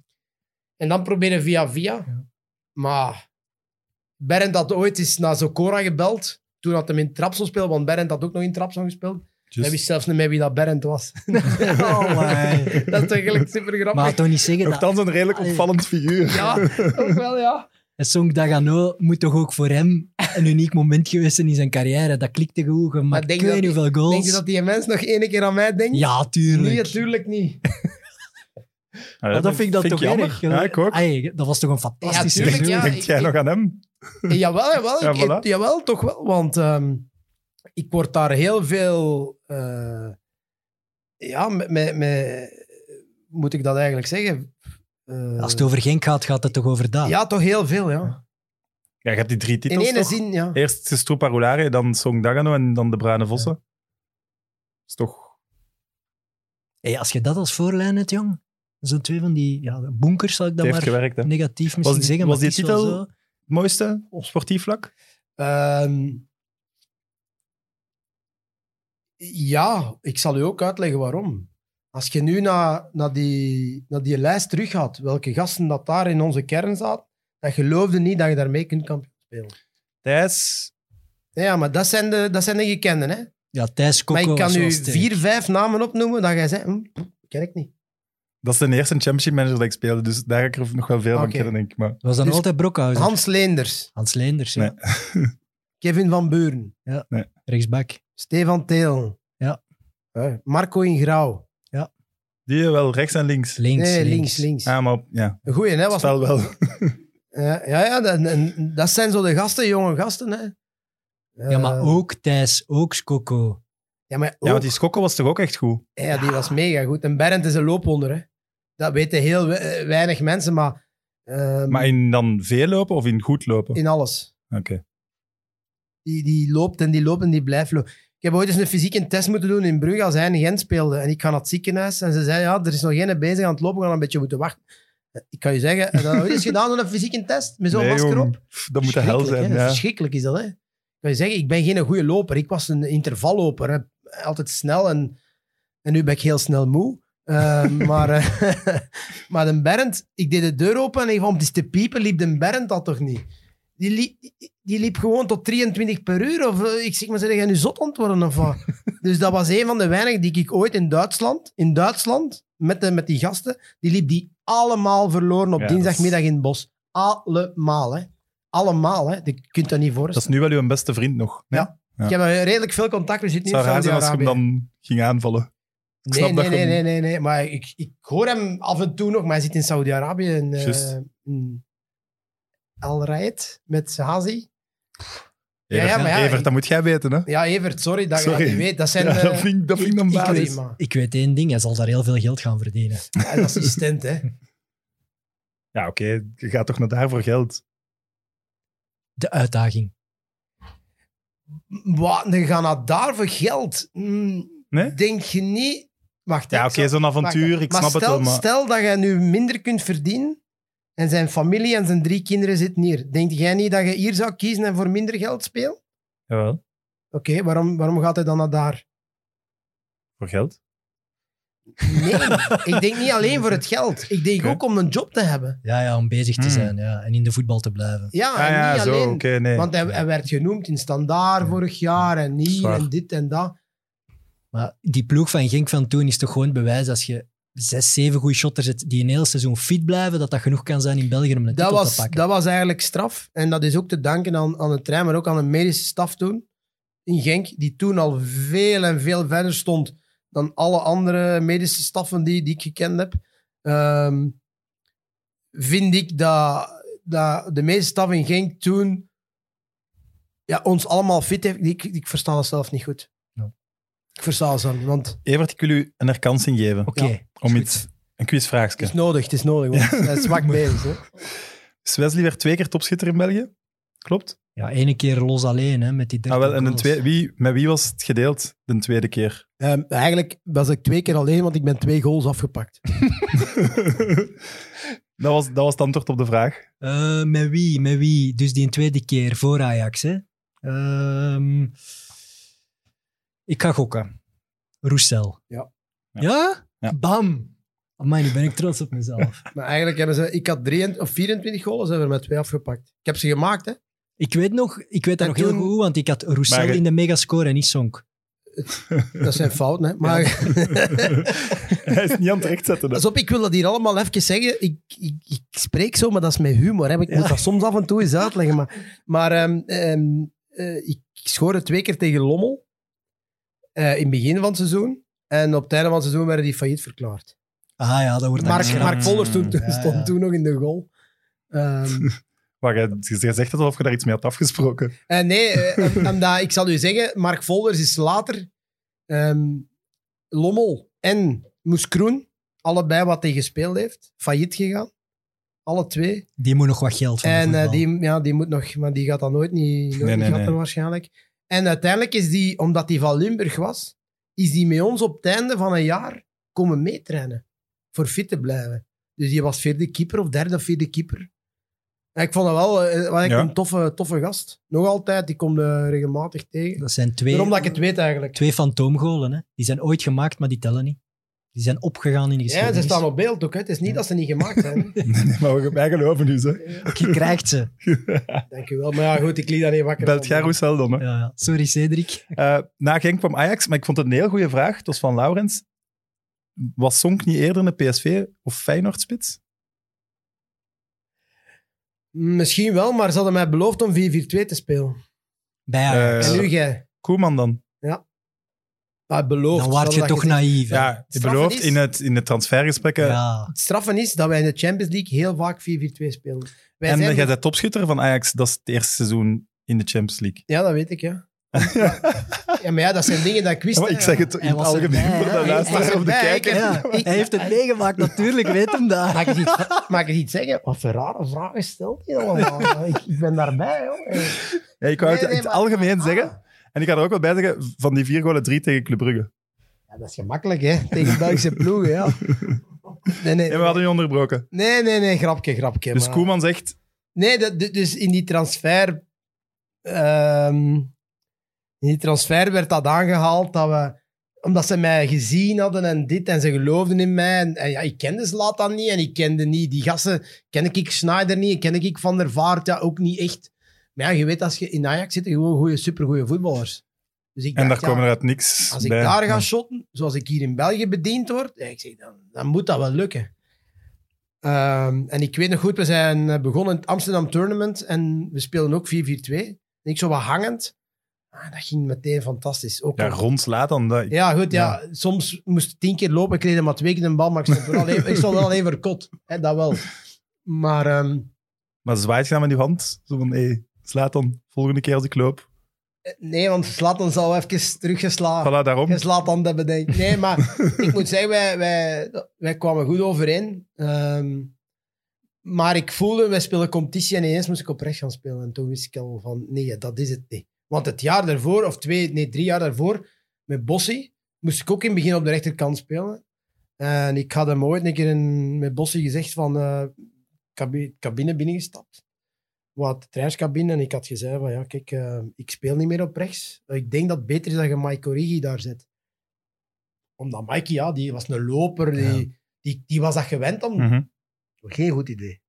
Speaker 4: en dan proberen via via.
Speaker 2: Ja.
Speaker 4: Maar Bernd had ooit eens naar Zocora gebeld. Toen had hem in Trapsel speelde, want Bernd had ook nog in Trapsel gespeeld.
Speaker 2: Dus-
Speaker 4: Hij wist zelfs niet meer wie dat Bernd was.
Speaker 2: Oh, my.
Speaker 4: dat is eigenlijk super grappig.
Speaker 2: maar toch niet zeggen dat...
Speaker 1: Nochtans een redelijk
Speaker 2: Allee.
Speaker 1: opvallend figuur.
Speaker 4: Ja, ook wel, ja.
Speaker 2: Het Song Dagano moet toch ook voor hem een uniek moment geweest zijn in zijn carrière. Dat klikte goed,
Speaker 4: Maar
Speaker 2: gemaakt
Speaker 4: denk
Speaker 2: ik
Speaker 4: je
Speaker 2: weet
Speaker 4: dat
Speaker 2: niet hoeveel
Speaker 4: Denk
Speaker 2: goals.
Speaker 4: je dat die mens nog één keer aan mij denkt?
Speaker 2: Ja, tuurlijk.
Speaker 4: Nee, natuurlijk niet.
Speaker 1: Maar
Speaker 2: Maar dat vind ik dan toch
Speaker 1: jammer.
Speaker 2: erg. Ah,
Speaker 1: Ja, ik ook.
Speaker 2: Ai, dat was toch een
Speaker 4: Ja,
Speaker 2: fantastische
Speaker 4: tuurlijk,
Speaker 2: goal.
Speaker 4: ja.
Speaker 1: Denk
Speaker 4: ik-
Speaker 1: jij
Speaker 4: ik-
Speaker 1: nog aan hem?
Speaker 4: Eh, jawel, jawel,
Speaker 1: Ja,
Speaker 4: ik-
Speaker 1: voilà.
Speaker 4: eh, jawel, toch wel. Want ehm, ik word daar heel veel... eh, ja, met, met, met- Moet ik dat eigenlijk zeggen? Eh,
Speaker 2: Als het over Genk gaat, gaat het toch over dat?
Speaker 4: Ja, toch heel veel, ja.
Speaker 1: Ja, je hebt die drie
Speaker 4: In
Speaker 1: titels
Speaker 4: ene
Speaker 1: toch?
Speaker 4: zin, ja.
Speaker 1: Eerst Stroepa Roulare, dan Song Dagano en dan de Bruine Vossen. is toch...
Speaker 2: Hey, als je dat als voorlijn hebt, jong. Zo'n twee van die ja, bonkers, zal ik dat
Speaker 1: Het heeft
Speaker 2: maar
Speaker 1: gewerkt, hè.
Speaker 2: negatief misschien
Speaker 1: Was die-
Speaker 2: zeggen.
Speaker 1: was die
Speaker 2: maar het is wel
Speaker 1: titel-
Speaker 2: zo.
Speaker 1: Het mooiste op sportief vlak?
Speaker 4: Ehm, ja, ik zal u ook uitleggen waarom. Als je nu naar, naar, die, naar die lijst teruggaat, welke gasten dat daar in onze kern zaten, dan geloofde niet dat je daarmee kunt kampioen spelen.
Speaker 1: Thijs,
Speaker 4: Ja, maar dat zijn de, dat zijn de gekenden. Hè?
Speaker 2: Ja, Thijs Kokko
Speaker 4: maar ik
Speaker 2: was
Speaker 4: kan
Speaker 2: wel
Speaker 4: u
Speaker 2: sterk.
Speaker 4: vier, vijf namen opnoemen dat jij zegt, hm, ken ik niet.
Speaker 1: dat is de eerste championship manager dat ik speelde, dus daar ga ik er nog wel veel van
Speaker 4: Oké.
Speaker 1: kennen, denk ik. Maar
Speaker 2: Was dan
Speaker 4: Dus-
Speaker 2: altijd Brockhuizen? Hans,
Speaker 4: Hans Leenders,
Speaker 2: Leenders, ja.
Speaker 1: Nee.
Speaker 4: Kevin van Beuren,
Speaker 2: rechtsback.
Speaker 4: Stefan Teel,
Speaker 2: Ja.
Speaker 4: Eh, Marco Ingrauw.
Speaker 1: die wel rechts en links.
Speaker 2: Links,
Speaker 4: nee, links,
Speaker 2: links.
Speaker 4: links.
Speaker 1: Ah, maar op- ja,
Speaker 4: Een goeie, hè?
Speaker 1: dat
Speaker 4: Was
Speaker 1: wel wel.
Speaker 4: Ja, ja, ja dat, en- dat zijn zo de gasten, jonge gasten. Hè.
Speaker 2: Ja, maar
Speaker 4: Eh,
Speaker 2: ook Thijs, ook Kokko.
Speaker 4: Ja, maar ook-
Speaker 1: Ja, want die Schokkel was toch ook echt goed?
Speaker 4: ja, die was mega goed. En Berend is een loopwonder. Hè. Dat weten heel we- eh, weinig mensen, maar, ehm,
Speaker 1: Maar in dan veel lopen of in goed lopen?
Speaker 4: in alles.
Speaker 1: Oké.
Speaker 4: Die, die loopt en die loopt en die blijft lopen. Ik heb ooit eens een fysieke test moeten doen in Brugge als hij in Gent speelde. En ik ga naar het ziekenhuis en ze zei, ja, er is nog geen bezig aan het lopen, we gaan een beetje moeten wachten. Eh, Ik kan je zeggen, heb je dat ooit eens gedaan zo'n fysieke test met zo'n
Speaker 1: Nee,
Speaker 4: masker op?
Speaker 1: jong. Pff, Dat moet de hel
Speaker 4: Verschrikkelijk,
Speaker 1: zijn,
Speaker 4: hè.
Speaker 1: ja.
Speaker 4: Verschrikkelijk is dat, hè. Ik kan je zeggen, ik ben geen goede loper. Ik was een intervalloper. hè. Altijd snel en, en nu ben ik heel snel moe. Eh, maar, eh, maar de Berend, ik deed de deur open en om die te piepen liep de Berend dat toch niet? Die, liep- die liep gewoon tot 23 per uur. Of, eh, ik zeg maar, zeg jij nu zot antwoorden of wat? dus dat was een van de weinigen die ik ooit in Duitsland, in Duitsland met, de, met die gasten, die liep die allemaal verloren op
Speaker 1: Ja, dat is-
Speaker 4: dinsdagmiddag in het bos. Allemaal, hè. Allemaal, hè. Je kunt dat niet
Speaker 1: Dat is
Speaker 4: voorstellen.
Speaker 1: nu wel uw beste vriend nog. Nee?
Speaker 4: Ja. Ik heb eh, redelijk veel contact. We
Speaker 1: Het
Speaker 4: zitten nu
Speaker 1: zou
Speaker 4: in
Speaker 1: raar zijn als je hem
Speaker 4: Saudi-Arabië.
Speaker 1: dan ging aanvallen. Ik
Speaker 4: Nee,
Speaker 1: snap
Speaker 4: nee,
Speaker 1: dat je
Speaker 4: nee,
Speaker 1: hem-
Speaker 4: nee, nee, nee. Maar ik, ik hoor hem af en toe nog, maar hij zit in Saudi-Arabië. in, eh,
Speaker 1: Juist.
Speaker 4: in Al Raid met Hazi. Ja, ja,
Speaker 1: Evert,
Speaker 4: maar ja,
Speaker 1: Evert,
Speaker 4: ik-
Speaker 1: dat moet jij weten, hè?
Speaker 4: Ja, Evert, sorry dat je
Speaker 1: Sorry.
Speaker 4: dat niet weet. Dat zijn
Speaker 1: Ja, dat
Speaker 4: eh,
Speaker 1: vind ik- dat vind ik dan
Speaker 4: ik weet
Speaker 1: basis.
Speaker 4: het, maar.
Speaker 2: Ik weet één ding, hij zal daar heel veel geld gaan verdienen.
Speaker 4: een assistent, hè.
Speaker 1: Ja, oké, je gaat toch naar daar voor geld.
Speaker 2: De uitdaging.
Speaker 4: Wat, dan gaan naar daar voor geld? Mm,
Speaker 1: Nee?
Speaker 4: Denk je niet... Wacht, hè,
Speaker 1: Ja,
Speaker 4: ik
Speaker 1: oké,
Speaker 4: zal-
Speaker 1: zo'n avontuur,
Speaker 4: Maar-
Speaker 1: ik
Speaker 4: maar
Speaker 1: snap
Speaker 4: stel,
Speaker 1: het wel, maar...
Speaker 4: Stel dat jij nu minder kunt verdienen en zijn familie en zijn drie kinderen zitten hier. Denk jij niet dat je hier zou kiezen en voor minder geld speelt?
Speaker 1: Jawel,
Speaker 4: Oké, waarom, waarom gaat hij dan naar daar?
Speaker 1: voor geld.
Speaker 4: Nee, ik denk niet alleen voor het geld. Ik denk
Speaker 1: Oké.
Speaker 4: ook om een job te hebben.
Speaker 2: Ja, ja, om bezig te
Speaker 1: Hmm.
Speaker 2: zijn ja, en in de voetbal te blijven.
Speaker 4: Ja,
Speaker 1: Ah
Speaker 4: en
Speaker 1: ja,
Speaker 4: niet
Speaker 1: zo,
Speaker 4: alleen.
Speaker 1: oké, nee.
Speaker 4: Want hij, hij werd genoemd in Standaard vorig jaar en hier
Speaker 1: Zwaar.
Speaker 4: en dit en dat.
Speaker 2: Maar die ploeg van Genk van toen is toch gewoon het bewijs als je zes, zeven goede shotters hebt die een heel seizoen fit blijven, dat dat genoeg kan zijn in België om een
Speaker 4: Dat
Speaker 2: titel
Speaker 4: was,
Speaker 2: te pakken.
Speaker 4: dat was eigenlijk straf. En dat is ook te danken aan, aan de trein, maar ook aan de medische staf toen in Genk, die toen al veel en veel verder stond dan alle andere medische staffen die, die ik gekend heb. Ehm, vind ik dat, dat de medische staf in Genk toen ja, ons allemaal fit heeft. Ik, ik versta dat zelf niet goed.
Speaker 2: Ja.
Speaker 4: Ik versta dat zelf niet, want het
Speaker 1: Evert, ik wil u een herkansing geven
Speaker 2: Oké,
Speaker 4: Ja.
Speaker 1: om
Speaker 2: goed.
Speaker 1: iets... Een quizvraagje.
Speaker 4: is nodig, het is nodig. Want hij is zwak bezig. Hè.
Speaker 1: Dus Wesley werd twee keer topschitter in België. Klopt.
Speaker 2: Ja, ene keer los alleen, hè, met die 30
Speaker 1: Ah, wel, en de
Speaker 2: goals.
Speaker 1: twee, wie, met wie was het gedeeld de tweede keer?
Speaker 4: Ehm, eigenlijk was ik twee keer alleen, want ik ben twee goals afgepakt.
Speaker 1: dat, was, dat was het antwoord op de vraag.
Speaker 2: Eh, met wie, met wie? Dus die tweede keer voor Ajax, hè? Ehm, ik ga gokken. Roestel.
Speaker 4: Ja.
Speaker 1: Ja.
Speaker 2: Ja?
Speaker 1: Ja.
Speaker 2: Bam! Amai, nu ben ik trots op mezelf.
Speaker 4: Maar eigenlijk hebben ze... Ik had 23, of 24 goals, hebben we er met twee afgepakt. Ik heb ze gemaakt, hè.
Speaker 2: ik weet, nog, ik weet dat
Speaker 4: En
Speaker 2: nog heel
Speaker 4: toen-
Speaker 2: goed, want ik had Roestel
Speaker 1: Maar je-
Speaker 2: in de megascore en niet Sonk.
Speaker 4: Dat zijn fouten, hè. Maar...
Speaker 1: Hij is niet aan het rechtzetten. hè.
Speaker 4: Pas op, ik wil dat hier allemaal even zeggen. Ik, ik, ik spreek zo, maar dat is met humor. Hè. Ik moet dat soms af en toe eens uitleggen. Maar, maar ehm, ehm, eh, ik schoorde twee keer tegen Lommel. eh, in het begin van het seizoen. En op het einde van het seizoen werden die failliet verklaard.
Speaker 2: Ah ja, dat wordt dan
Speaker 4: Mark,
Speaker 2: geschrapt.
Speaker 4: Mark Vollers toen, toen
Speaker 2: Ja, ja.
Speaker 4: stond toen nog in de goal. Ehm,
Speaker 1: Maar jij- je zegt het alsof je daar iets mee had afgesproken.
Speaker 4: eh, nee, eh, om- omdat, ik zal u zeggen, Mark Vollers is later ehm, Lommel en Moes Kroen, allebei wat hij gespeeld heeft, failliet gegaan. Alle twee.
Speaker 2: Die moet nog wat geld van de
Speaker 4: En eh,
Speaker 2: voetbal.
Speaker 4: die, ja, die moet nog, maar die gaat dat nooit niet, nooit
Speaker 1: Nee,
Speaker 4: niet
Speaker 1: nee,
Speaker 4: grappen
Speaker 1: nee.
Speaker 4: waarschijnlijk. En uiteindelijk is die, omdat die van Limburg was, is die met ons op het einde van een jaar komen meetrainen. Voor fit te blijven. Dus die was vierde keeper of derde of vierde keeper. En ik vond dat wel eh, wat ik
Speaker 1: Ja.
Speaker 4: een toffe, toffe gast. Nog altijd, die komt eh, regelmatig tegen.
Speaker 2: Dat zijn twee,
Speaker 4: Waarom dat ik het weet eigenlijk.
Speaker 2: twee fantoomgolen, hè. Die zijn ooit gemaakt, maar die tellen niet. Die zijn opgegaan in de
Speaker 4: Ja,
Speaker 2: geschiedenis.
Speaker 4: ze staan op beeld ook. Hè. Het is niet
Speaker 2: Ja.
Speaker 4: dat ze niet gemaakt zijn.
Speaker 1: Nee, nee, maar we- wij geloven nu, hè.
Speaker 2: Je krijgt ze.
Speaker 4: Dank je wel. Maar ja, goed, ik liet daar niet wakker
Speaker 1: Belt jij
Speaker 4: van.
Speaker 1: Roussel dan, hè?
Speaker 2: Ja, ja. Sorry, Cedric.
Speaker 1: Eh, na Genk kwam Ajax, maar ik vond het een heel goede vraag. Het was van Laurens. Was Sonk niet eerder een PSV of Feyenoord-spits?
Speaker 4: Misschien wel, maar ze hadden mij beloofd om 4-4-2 te spelen.
Speaker 2: Bij Ajax.
Speaker 1: Eh,
Speaker 4: En nu jij.
Speaker 1: Koeman dan?
Speaker 4: Ah, beloofd.
Speaker 2: dan waard je
Speaker 4: Zal dat
Speaker 2: toch
Speaker 4: gezegd-
Speaker 2: naïef. hè.
Speaker 1: Ja, eh,
Speaker 4: Het
Speaker 1: beloofd
Speaker 4: straffen is-
Speaker 1: in het, in de transfergesprekken.
Speaker 2: Ja.
Speaker 4: Het straffen is dat wij in de Champions League heel vaak 4-4-2 spelen. Wij
Speaker 1: en
Speaker 4: zijn-
Speaker 1: jij bent topschutter van Ajax. Dat is het eerste seizoen in de Champions League.
Speaker 4: Ja, dat weet ik, ja. ja, maar ja, dat zijn dingen dat ik wist.
Speaker 1: Ja, maar
Speaker 4: hè.
Speaker 1: ik zeg het in
Speaker 2: Hij
Speaker 1: het
Speaker 2: was
Speaker 1: algemeen
Speaker 2: erbij,
Speaker 1: voor
Speaker 2: hè.
Speaker 1: de
Speaker 2: Hij
Speaker 4: was
Speaker 1: luisteraar of de
Speaker 4: erbij,
Speaker 1: kijker.
Speaker 2: Ja, hij heeft het meegemaakt, natuurlijk. Weet hem daar.
Speaker 4: Mag ik, eens iets, mag ik eens iets zeggen? Wat voor rare vragen stelt hij allemaal? ik, ik ben daarbij, joh. Eh,
Speaker 1: Ja, ik wou het
Speaker 4: Nee,
Speaker 1: in
Speaker 4: nee,
Speaker 1: het
Speaker 4: maar-
Speaker 1: algemeen
Speaker 4: ah.
Speaker 1: zeggen. En ik ga er ook wel bij zeggen, van die vier golen drie tegen Club Brugge.
Speaker 4: Ja, dat is gemakkelijk, hè? Tegen Belgische ploegen, ja. Nee, nee,
Speaker 1: En we hadden je onderbroken.
Speaker 4: nee, nee, nee, grapje, grapje.
Speaker 1: Dus
Speaker 4: maar-
Speaker 1: Koeman zegt,
Speaker 4: Nee, dat, du- dus in die transfer... ehm, in die transfer werd dat aangehaald dat we... Omdat ze mij gezien hadden en dit, en ze geloofden in mij. En, en ja, ik kende Zlatan niet en ik kende niet die gasten. Ken ik Schneider niet, ken ik Van der Vaart ja, ook niet echt. Maar ja, je weet, als je in Ajax zit, gewoon goede, supergoeie voetballers. Dus ik
Speaker 1: en daar
Speaker 4: dacht, ja,
Speaker 1: komen er uit niks
Speaker 4: als ik
Speaker 1: bij.
Speaker 4: daar ga
Speaker 1: Ja.
Speaker 4: shotten, zoals ik hier in België bediend word, ja, ik zeg, dan, dan moet dat wel lukken. Ehm, en ik weet nog goed, we zijn eh, begonnen in het Amsterdam Tournament en we speelden ook 4-4-2. En ik zo wat hangend. Ah, dat ging meteen fantastisch. Ook
Speaker 1: Ja, rond slaat dan. Dat,
Speaker 4: ja, goed, ja. Soms moest ik tien keer lopen, ik kreeg maar twee keer een bal, maar ik stond, wel alleen, ik stond wel alleen verkot. Hè, dat wel. Maar ehm,
Speaker 1: Maar zwaait je dan met je hand? Zo van, hé, slaat dan volgende keer als ik loop.
Speaker 4: nee, want Zlatan zal even teruggeslagen.
Speaker 1: Voilà, daarom.
Speaker 4: Je slaat dan dat bedenkt. Nee, maar ik moet zeggen, wij, wij, wij kwamen goed overeen. Ehm, maar ik voelde, wij spelen competitie en ineens moest ik oprecht gaan spelen. En toen wist ik al van, nee, dat is het niet. Want het jaar daarvoor, of twee, nee, drie jaar daarvoor, met Bossi, moest ik ook in het begin op de rechterkant spelen. En ik had hem ooit een keer in, met Bossi gezegd van, eh cabi- cabine binnengestapt. Wat de trainerscabine. En ik had gezegd van, ja, kijk, eh, ik speel niet meer op rechts. Ik denk dat het beter is dat je Mike Origi daar zet. Omdat Mikey, ja, die was een loper. Die, die, die was dat gewend om...
Speaker 1: Mhm.
Speaker 4: Geen goed idee.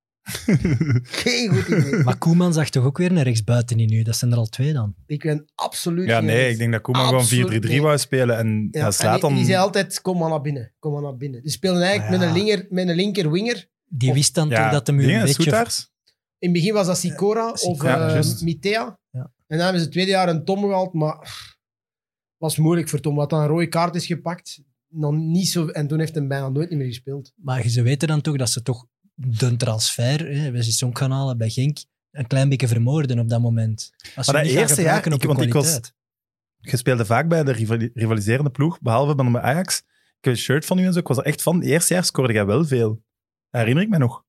Speaker 4: Geen goed idee.
Speaker 2: Maar Koeman zag toch ook weer naar rechtsbuiten in u? Dat zijn er al twee dan.
Speaker 4: Ik ben absoluut
Speaker 1: Ja,
Speaker 4: geen
Speaker 1: nee,
Speaker 4: mens.
Speaker 1: ik denk dat Koeman
Speaker 4: Absoluut
Speaker 1: gewoon 4-3-3
Speaker 4: niet.
Speaker 1: wou spelen. En
Speaker 4: Ja,
Speaker 1: hij
Speaker 4: en
Speaker 1: slaat
Speaker 4: die-
Speaker 1: dan...
Speaker 4: Die zei altijd, kom maar naar binnen. Kom maar naar binnen. Die speelden eigenlijk
Speaker 2: Ja.
Speaker 4: met, een linger, met een linker winger.
Speaker 2: Die
Speaker 4: Of-
Speaker 2: wist dan
Speaker 1: Oh. ja,
Speaker 2: toch dat hem u
Speaker 1: dingen,
Speaker 2: een beetje...
Speaker 1: Soetaars?
Speaker 4: In het begin was dat Sikora of
Speaker 2: Sikora,
Speaker 4: eh,
Speaker 1: juist.
Speaker 4: Mitea.
Speaker 2: Ja.
Speaker 4: En dan hebben ze het tweede jaar een Tom gehaald, maar pff, was moeilijk voor Tom. Wat dan een rode kaart is gepakt. Nog niet zo, en toen heeft hij bijna nooit meer gespeeld.
Speaker 2: Maar ze weten dan toch dat ze toch de transfer, hè, we zien zo'n kanalen bij Genk, een klein beetje vermoorden op dat moment. Als
Speaker 1: Maar
Speaker 2: ze
Speaker 1: dat
Speaker 2: niet gaan
Speaker 1: eerste
Speaker 2: gebruiken
Speaker 1: jaar,
Speaker 2: op
Speaker 1: ik-
Speaker 2: hun
Speaker 1: want ik was-
Speaker 2: kwaliteit.
Speaker 1: Je speelde vaak bij de rivali- rivaliserende ploeg, behalve dan bij Ajax. Ik heb een shirt van u en zo. Ik was er echt van. Het eerste jaar scoorde jij wel veel. Dat herinner ik me nog.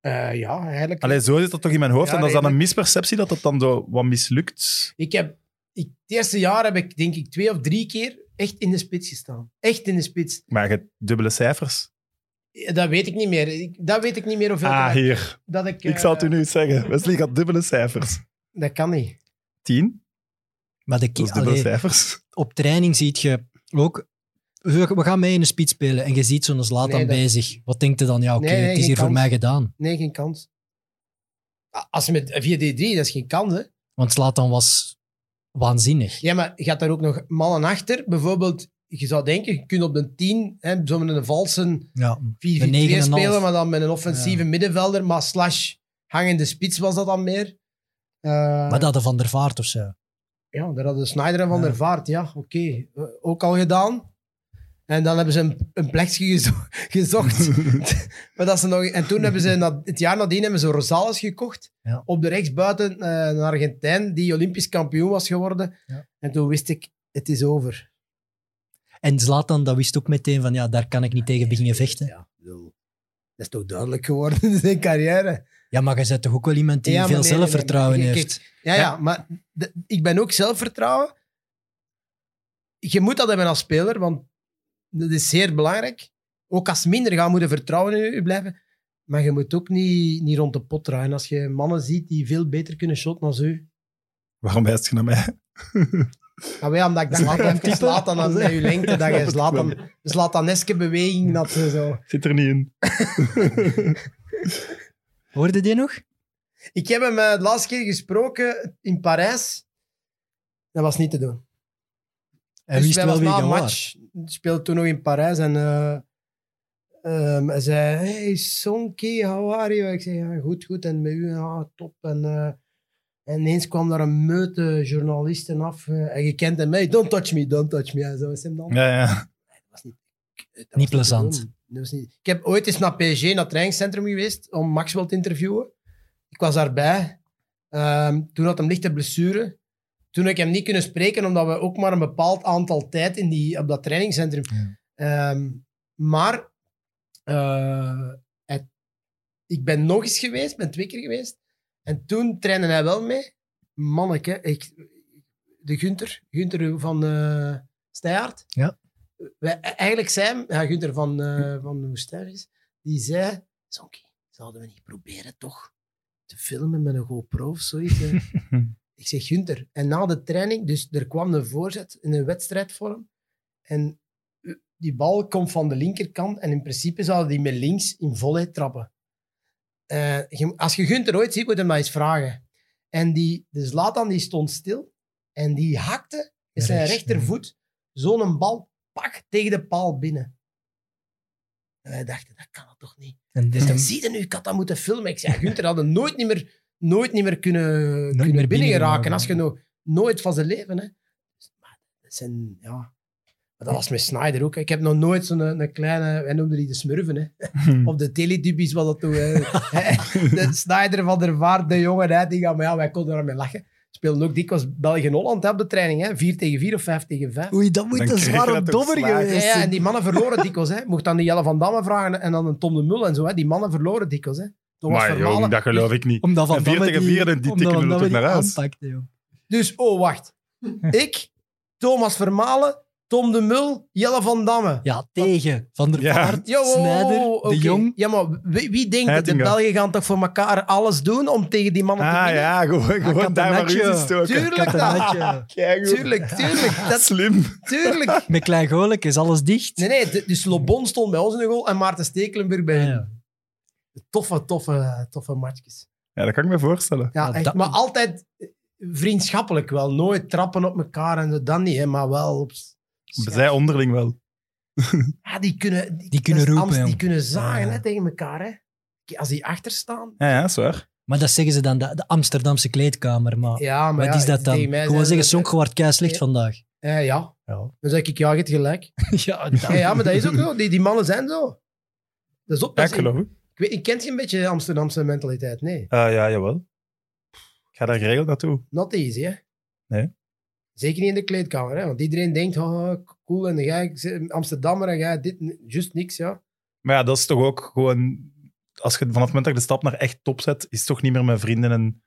Speaker 4: Eh, ja, eigenlijk.
Speaker 1: Allee, zo zit dat toch in mijn hoofd.
Speaker 4: Ja,
Speaker 1: en dat is
Speaker 4: nee,
Speaker 1: dan een
Speaker 4: nee.
Speaker 1: misperceptie dat dat dan zo wat mislukt.
Speaker 4: Ik heb, ik, het eerste jaar heb ik denk ik twee of drie keer echt in de spits gestaan. Echt in de spits.
Speaker 1: Maar je hebt dubbele cijfers.
Speaker 4: Eh, Dat weet ik niet meer. Ik- Dat weet ik niet meer hoeveel
Speaker 1: Ah,
Speaker 4: dat-
Speaker 1: hier.
Speaker 4: dat ik...
Speaker 1: Ik
Speaker 4: eh,
Speaker 1: zal het u nu eens zeggen. Wesley gaat dubbele cijfers.
Speaker 4: Dat kan niet.
Speaker 1: Tien,
Speaker 2: Maar de
Speaker 1: dat
Speaker 2: ki-
Speaker 1: is dubbele
Speaker 2: allee,
Speaker 1: cijfers.
Speaker 2: op training zie je ook... We we gaan mee in de speed spelen en je ziet zo'n Zlatan
Speaker 4: Nee, dat-
Speaker 2: bij zich. Wat denkt je dan? Ja, oké,
Speaker 4: Nee, nee,
Speaker 2: het is
Speaker 4: geen
Speaker 2: hier voor
Speaker 4: kans.
Speaker 2: mij gedaan.
Speaker 4: Nee, geen kans. Ah, Als je met 4D3, dat is geen kans, hè.
Speaker 2: Want Zlatan was waanzinnig.
Speaker 4: Ja, maar gaat daar ook nog mannen achter? Bijvoorbeeld, je zou denken, je kunt op de 10, hè, zo met een valse 4-4-2
Speaker 2: Ja. De negen en een half.
Speaker 4: spelen, maar dan met een offensieve
Speaker 2: Ja.
Speaker 4: middenvelder, maar slash hangende spits was dat dan meer. Eh,
Speaker 2: Maar dat de Van der Vaart of zo.
Speaker 4: Ja, daar hadden Snyder en Van
Speaker 2: Ja.
Speaker 4: der Vaart, ja, oké. Eh, Ook al gedaan. En dan hebben ze een, een plekje gezo- gezocht. maar dat ze nog, en toen hebben ze, na- het jaar nadien hebben ze Rosales gekocht.
Speaker 2: Ja.
Speaker 4: Op de rechtsbuiten, eh, een Argentijn die Olympisch kampioen was geworden.
Speaker 2: Ja.
Speaker 4: En toen wist ik, het is over.
Speaker 2: En Zlatan, dat wist ook meteen van, ja, daar kan ik niet tegen beginnen vechten.
Speaker 4: Ja, ik bedoel, dat is toch duidelijk geworden in zijn carrière.
Speaker 2: Ja, maar je bent toch ook wel iemand die
Speaker 4: Ja, maar
Speaker 2: veel
Speaker 4: nee, nee, nee,
Speaker 2: zelfvertrouwen
Speaker 4: maar kijk,
Speaker 2: heeft.
Speaker 4: Ja, ja, maar de- ik ben ook zelfvertrouwen. Je moet dat hebben als speler, want dat is zeer belangrijk. Ook als minder gaan moeten vertrouwen in je blijven. Maar je moet ook niet, niet rond de pot draaien. Als je mannen ziet die veel beter kunnen shotten dan u.
Speaker 1: Waarom wijst je naar mij?
Speaker 4: Nou ja, omdat ik dacht,
Speaker 1: Zlatan
Speaker 4: dat je
Speaker 1: type?
Speaker 4: slaat dan met je lengte, dat je
Speaker 1: Ja,
Speaker 4: Zlatan- Zlataneske beweging dat ze zo.
Speaker 1: Zit er niet in.
Speaker 2: Hoorde die nog?
Speaker 4: Ik heb hem eh, de laatste keer gesproken in Parijs. Dat was niet te doen.
Speaker 2: Hij
Speaker 4: Dus
Speaker 2: wist
Speaker 4: wij
Speaker 2: wel
Speaker 4: was
Speaker 2: wie
Speaker 4: na
Speaker 2: je
Speaker 4: een
Speaker 2: was.
Speaker 4: match, speelde toen nog in Parijs en eh, ehm, hij zei, hey Sonky, how are you? Ik zei, ja, goed, goed, en met u, ja, top. En, eh, en ineens kwam daar een meute journalisten af eh, en je kent hem, hey, don't touch me, don't touch me. Ja, zo is hem dan.
Speaker 1: Ja, ja.
Speaker 4: Dat was niet, dat was
Speaker 2: Niet
Speaker 4: te
Speaker 2: plezant.
Speaker 4: doen. Dat was niet- ik heb ooit eens naar PSG, naar het trainingscentrum geweest, om Maxwell te interviewen. Ik was daarbij. Ehm, toen had hem lichte blessure. Toen heb ik hem niet kunnen spreken, omdat we ook maar een bepaald aantal tijd in die, op dat trainingscentrum. Ehm, maar eh, het- ik ben nog eens geweest, ben twee keer geweest. En toen trainde hij wel mee. Manneke, ik, de Gunter, Gunter van eh Steyaert.
Speaker 2: Ja.
Speaker 4: Wij, eigenlijk zei hem, ja, Gunter van, eh van Woestijnvis, die zei, Zonkie, zouden we niet proberen toch te filmen met een GoPro of zoiets? hè?" ik zeg, Gunter, en na de training, dus er kwam een voorzet in een wedstrijdvorm. En eh, die bal komt van de linkerkant en in principe zouden die met links in volle trappen. Eh, je- als je Gunter ooit ziet, moet je hem dat eens vragen. En die, de Zlatan die stond stil en die hakte met zijn
Speaker 2: Rechts,
Speaker 4: rechtervoet zo'n bal pak tegen de paal binnen. En wij dachten, dat kan dat toch niet?
Speaker 2: En dit
Speaker 4: Dus
Speaker 2: hem
Speaker 4: dan zie je nu, ik had dat moeten filmen. Ik zei, Gunther had het nooit niet meer, nooit niet meer kunnen, kunnen
Speaker 2: meer binnengeraken,
Speaker 4: binnengeraken. Als je nou nooit van zijn leven. Hè. Dus, Maar dat zijn, ja. Maar dat was met Snyder ook. hè. Ik heb nog nooit zo'n een kleine, wij noemden die de smurven. Hè. Of de teledubbies was dat toen. hè. de Snyder van der Vaart, de jongen, hè, die gaan, maar ja, wij konden daarmee lachen. Speelden ook dikwijls België-Holland hè, op de training. hè. 4 tegen 4 of 5 tegen 5.
Speaker 2: Oei, dat
Speaker 1: Dan
Speaker 2: moet een
Speaker 1: kreeg je
Speaker 2: zware
Speaker 1: dat dus ook
Speaker 2: dobber
Speaker 1: slagen.
Speaker 2: geweest
Speaker 4: Ja, ja,
Speaker 2: zijn.
Speaker 4: en die mannen verloren dikwijls. Hè. Mocht dan die Jelle van Damme vragen en dan een Tom de Mul en zo. Hè. Die mannen verloren dikwijls. Hè. Thomas
Speaker 1: Maar
Speaker 4: Vermaelen.
Speaker 1: jong, dat geloof ik niet.
Speaker 2: Omdat Van
Speaker 1: En vier
Speaker 2: Damme
Speaker 1: tegen
Speaker 2: die-
Speaker 1: vier, en die
Speaker 2: omdat
Speaker 1: tikken
Speaker 2: Van
Speaker 1: er
Speaker 2: Damme
Speaker 1: natuurlijk
Speaker 2: die
Speaker 1: naar huis.
Speaker 2: aanpakte, joh.
Speaker 4: Dus, oh, wacht. ik, Thomas Vermalen, Tom de Mul, Jelle van Damme.
Speaker 2: Ja, tegen Van der
Speaker 1: Ja.
Speaker 2: Vaart,
Speaker 4: Ja, wow,
Speaker 2: Snijder,
Speaker 4: wow, wow, oké.
Speaker 2: De Jong.
Speaker 4: Ja, maar wie, wie denkt dat de
Speaker 1: Heitinga.
Speaker 4: Belgen gaan toch voor elkaar alles doen om tegen die mannen te
Speaker 1: Ah
Speaker 4: winnen?
Speaker 1: ja, gewoon, gewoon daar maar
Speaker 2: Catenaccio.
Speaker 1: uit stoken.
Speaker 4: Tuurlijk, dat,
Speaker 2: Catenaccio.
Speaker 4: tuurlijk, tuurlijk, dat,
Speaker 1: Slim.
Speaker 4: tuurlijk.
Speaker 2: Met Klein Golijk is alles dicht.
Speaker 4: Nee, nee, de- dus Lobon stond bij ons in de goal en Maarten Stekelenburg bij
Speaker 2: Ja,
Speaker 4: hen.
Speaker 2: Ah, ja.
Speaker 4: Toffe, toffe, toffe matchjes.
Speaker 1: Ja, dat kan ik me voorstellen.
Speaker 4: Ja,
Speaker 2: Ja,
Speaker 4: echt,
Speaker 2: dat-
Speaker 4: maar altijd eh, vriendschappelijk wel. Nooit trappen op elkaar en zo, dan niet, hè, maar wel op...
Speaker 1: Zij onderling wel.
Speaker 4: Ja, die kunnen... Die,
Speaker 2: Die kunnen
Speaker 4: dat
Speaker 2: roepen,
Speaker 4: is Amst- Die
Speaker 2: jong.
Speaker 4: kunnen zagen
Speaker 2: Ja.
Speaker 4: hè, tegen elkaar, hè. Kijk, Als die achter staan...
Speaker 1: Ja, ja, is waar.
Speaker 2: Maar dat zeggen ze dan, de, de Amsterdamse kleedkamer. Maar
Speaker 4: Ja, maar
Speaker 2: wat
Speaker 4: ja,
Speaker 2: is dat dan?
Speaker 4: tegen mij
Speaker 2: Gewoon
Speaker 4: zijn
Speaker 2: zeggen,
Speaker 4: ze-
Speaker 2: Sonk, je wordt kei slecht vandaag.
Speaker 4: Eh, ja.
Speaker 2: Ja,
Speaker 4: Dan zeg ik, ja, je hebt gelijk.
Speaker 2: ja,
Speaker 4: ja, ja, maar dat is ook zo. Die, die mannen zijn zo. Dat is op.
Speaker 1: Ja,
Speaker 4: dat
Speaker 1: ik
Speaker 4: is- ik,
Speaker 1: geloof het.
Speaker 4: weet, ik ken geen beetje Amsterdamse mentaliteit, nee.
Speaker 1: Ah, ja, jawel. Ik ga daar geregeld naartoe.
Speaker 4: Not easy, hè.
Speaker 1: Nee.
Speaker 4: Zeker niet in de kleedkamer, hè. Want iedereen denkt, oh, cool, en jij Amsterdammer, en jij dit, juist niks, ja.
Speaker 1: Maar ja, dat is toch ook gewoon als je vanaf het moment dat je de stap naar echt top zet, is het toch niet meer met vrienden en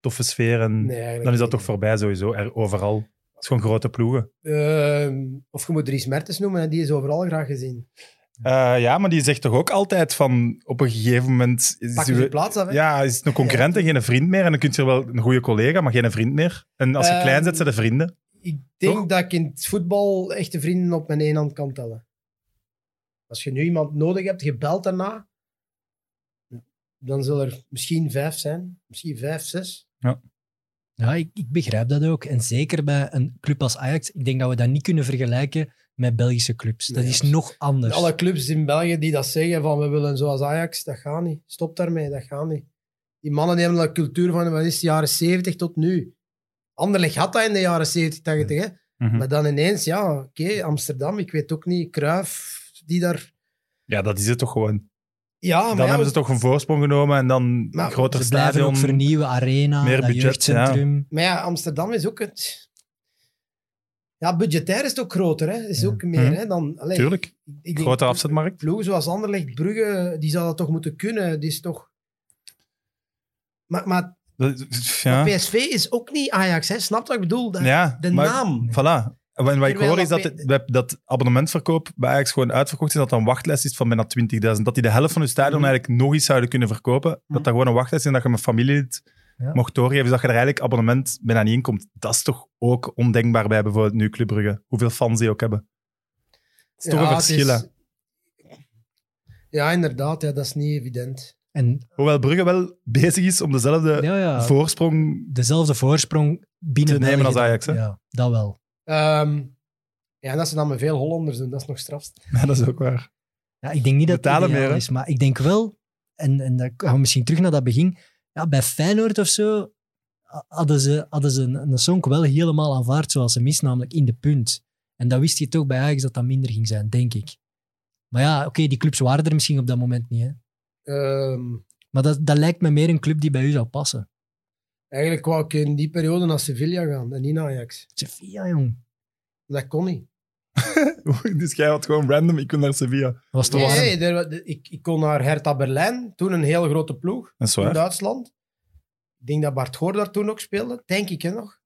Speaker 1: toffe sfeer. En
Speaker 4: Nee, eigenlijk
Speaker 1: dan is dat
Speaker 4: niet.
Speaker 1: toch voorbij sowieso, er, overal. Het is gewoon grote ploegen.
Speaker 4: Ehm, of je moet Dries Mertens noemen, hè, die is overal graag gezien.
Speaker 1: Eh, ja, maar die zegt toch ook altijd van op een gegeven moment... Is
Speaker 4: Pak je
Speaker 1: uw-
Speaker 4: de plaats af. hè.
Speaker 1: ja, is het een concurrent en geen vriend meer. En dan kun je wel een goede collega, maar geen vriend meer. En als je
Speaker 4: Ehm,
Speaker 1: klein zet, zijn de vrienden.
Speaker 4: Ik denk
Speaker 1: Toch?
Speaker 4: dat ik in het voetbal echte vrienden op mijn één hand kan tellen. Als je nu iemand nodig hebt, je belt daarna, dan zullen er misschien vijf zijn. Misschien vijf, zes.
Speaker 2: Ja, ik, ik begrijp dat ook. En zeker bij een club als Ajax, ik denk dat we dat niet kunnen vergelijken met Belgische clubs. Dat
Speaker 4: Nee,
Speaker 2: is
Speaker 4: absoluut.
Speaker 2: nog
Speaker 1: Dus-
Speaker 2: anders.
Speaker 4: Alle clubs in België die dat zeggen van we willen zoals Ajax, dat gaat niet. Stop daarmee, dat gaat niet. Die mannen die hebben een cultuur van wat is het, de jaren 70 tot nu. Anderlecht had dat in de jaren 70, 80. Hè?
Speaker 1: Mhm.
Speaker 4: Maar dan ineens, ja, oké, Amsterdam, ik weet ook niet, Kruif, die daar...
Speaker 1: Ja, dat is het toch gewoon.
Speaker 4: Ja, Ah, maar
Speaker 1: Dan
Speaker 4: ja,
Speaker 1: hebben ze toch een voorsprong genomen en dan een
Speaker 4: Maar
Speaker 1: groter
Speaker 2: Ze blijven
Speaker 1: stadion.
Speaker 2: ook vernieuwen, arena,
Speaker 1: meer
Speaker 2: dat
Speaker 1: budget,
Speaker 2: jeugdcentrum.
Speaker 4: Maar ja, Amsterdam is ook het. Ja, budgetair is het ook groter. Hè? Is
Speaker 2: Ja.
Speaker 4: ook meer
Speaker 1: Mhm.
Speaker 4: hè, dan. Allee,
Speaker 1: Tuurlijk,
Speaker 4: ik denk
Speaker 1: grote afzetmarkt.
Speaker 4: Ploegen zoals Anderlecht, Brugge, die zou dat toch moeten kunnen. Die is toch. Maar, maar
Speaker 1: Dat- Ja,
Speaker 4: PSV is ook niet Ajax, hè? snap je wat ik bedoel? Dat-
Speaker 1: ja
Speaker 4: de
Speaker 1: maar-
Speaker 4: naam.
Speaker 1: Voilà. En wat ik
Speaker 4: Terwijl
Speaker 1: hoor is
Speaker 4: dat
Speaker 1: dat, dat, dat abonnementverkoop bij Ajax gewoon uitverkocht is. Dat dat een wachtlijst is van bijna 20.000. Dat die de helft van hun stadion
Speaker 4: Mhm.
Speaker 1: eigenlijk nog eens zouden kunnen verkopen.
Speaker 4: Mm.
Speaker 1: Dat dat gewoon een wachtlijst is en dat je met familielid
Speaker 2: Ja.
Speaker 1: mocht doorgeven. Dus dat je er eigenlijk abonnement bijna niet in komt. Dat is toch ook ondenkbaar bij bijvoorbeeld nu Club Brugge. Hoeveel fans die ook hebben. Het is toch
Speaker 4: Ja,
Speaker 1: een
Speaker 4: het is-
Speaker 1: verschil. hè.
Speaker 4: Ja, inderdaad, ja, dat is niet evident.
Speaker 2: En
Speaker 1: Hoewel Brugge wel bezig is om dezelfde
Speaker 2: ja, ja,
Speaker 1: voorsprong...
Speaker 2: dezelfde voorsprong binnen
Speaker 1: Eh, Te nemen
Speaker 2: België
Speaker 1: als
Speaker 2: dan.
Speaker 1: Ajax, hè?
Speaker 2: Ja, dat wel.
Speaker 4: Ehm, ja, en dat ze dan met veel Hollanders doen, dat is nog strafst.
Speaker 1: Ja, dat is ook waar.
Speaker 2: Ja, ik denk niet dat
Speaker 1: Betalen
Speaker 2: het ideaal
Speaker 1: meer, hè?
Speaker 2: is, maar ik denk wel, en, en dan gaan we misschien terug naar dat begin, ja, bij Feyenoord of zo a- hadden ze, hadden ze een, een song wel helemaal aanvaard zoals ze mis, namelijk in de punt. En dat wist je toch bij Ajax dat dat minder ging zijn, denk ik. Maar ja, oké, die clubs waren er misschien op dat moment niet. Hè?
Speaker 4: Ehm,
Speaker 2: Maar dat, dat lijkt me meer een club die bij u zou passen.
Speaker 4: eigenlijk wou ik in die periode naar Sevilla gaan en niet naar Ajax.
Speaker 2: Sevilla, jong.
Speaker 4: Dat kon niet.
Speaker 1: dus jij had gewoon random, ik kon naar Sevilla.
Speaker 2: Dat was te
Speaker 4: Nee,
Speaker 2: warm.
Speaker 4: nee, er wa- de- ik, ik kon naar Hertha Berlijn, toen een heel grote ploeg
Speaker 1: Dat is
Speaker 4: in
Speaker 1: waar.
Speaker 4: Duitsland. Ik denk dat Bart Goor daar toen ook speelde, denk ik hè, nog.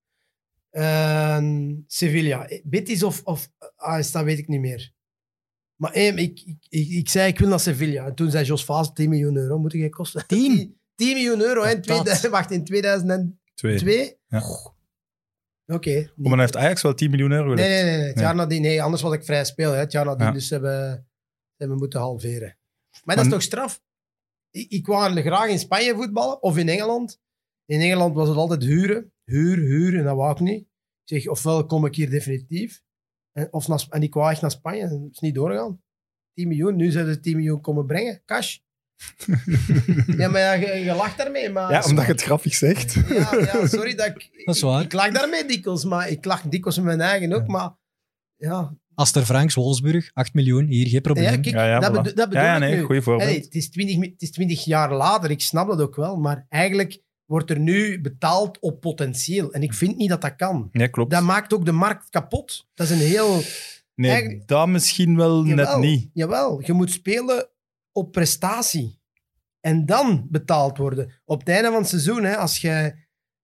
Speaker 4: En Sevilla, Eh, Betis of, of AS, dat weet ik niet meer. Maar eh, ik, ik, ik, ik zei, ik wil naar Sevilla. En toen zei Jos Vaas, 10 miljoen euro, moet ik kosten?
Speaker 2: 10?
Speaker 4: 10 miljoen euro, hè, in
Speaker 2: Dat.
Speaker 4: 2000, wacht, in 2002?
Speaker 1: Twee. Ja.
Speaker 4: Oké.
Speaker 1: Oh, maar dan heeft Ajax wel 10 miljoen euro.
Speaker 4: Nee, nee, nee. nee. Het
Speaker 1: Nee.
Speaker 4: jaar nadien, nee, anders was ik vrij speel. Hè. Het jaar nadien,
Speaker 1: Ja.
Speaker 4: dus ze hebben, ze hebben moeten halveren. Maar dat is
Speaker 1: Maar-
Speaker 4: toch straf? Ik, ik wou graag in Spanje voetballen of in Engeland. In Engeland was het altijd huren, huur, huur, en dat wou ik niet. Ik zeg, ofwel kom ik hier definitief, en, of naar, Sp- en ik wou echt naar Spanje, en het is niet doorgegaan. 10 miljoen, nu zouden ze 10 miljoen komen brengen, cash. ja, maar ja, je, je lacht daarmee, maar...
Speaker 1: Ja, omdat je het grappig zegt.
Speaker 4: Ja, ja, sorry dat ik...
Speaker 2: Dat is waar.
Speaker 4: Ik, ik lach daarmee dikwijls, maar ik lach dikwijls met mijn eigen ook,
Speaker 2: Ja.
Speaker 4: maar... Ja,
Speaker 2: Aster Franks, Wolfsburg, 8 miljoen, hier, geen probleem.
Speaker 4: ja, kijk,
Speaker 1: Ja, ja,
Speaker 4: dat,
Speaker 1: voilà.
Speaker 4: bedo- dat bedoel
Speaker 1: Ja, ja,
Speaker 4: ik
Speaker 1: nee,
Speaker 4: nu.
Speaker 1: goeie voorbeeld.
Speaker 4: Allee, het, is 20 mi- het is 20 jaar later, ik snap dat ook wel, maar eigenlijk wordt er nu betaald op potentieel. En ik vind niet dat dat kan.
Speaker 1: Ja, klopt.
Speaker 4: Dat maakt ook de markt kapot. Dat is een heel...
Speaker 1: nee,
Speaker 4: eigenlijk-
Speaker 1: dat misschien wel net
Speaker 4: Jawel,
Speaker 1: niet.
Speaker 4: Jawel, je moet spelen op prestatie. En dan betaald worden. Op het einde van het seizoen, hè, als je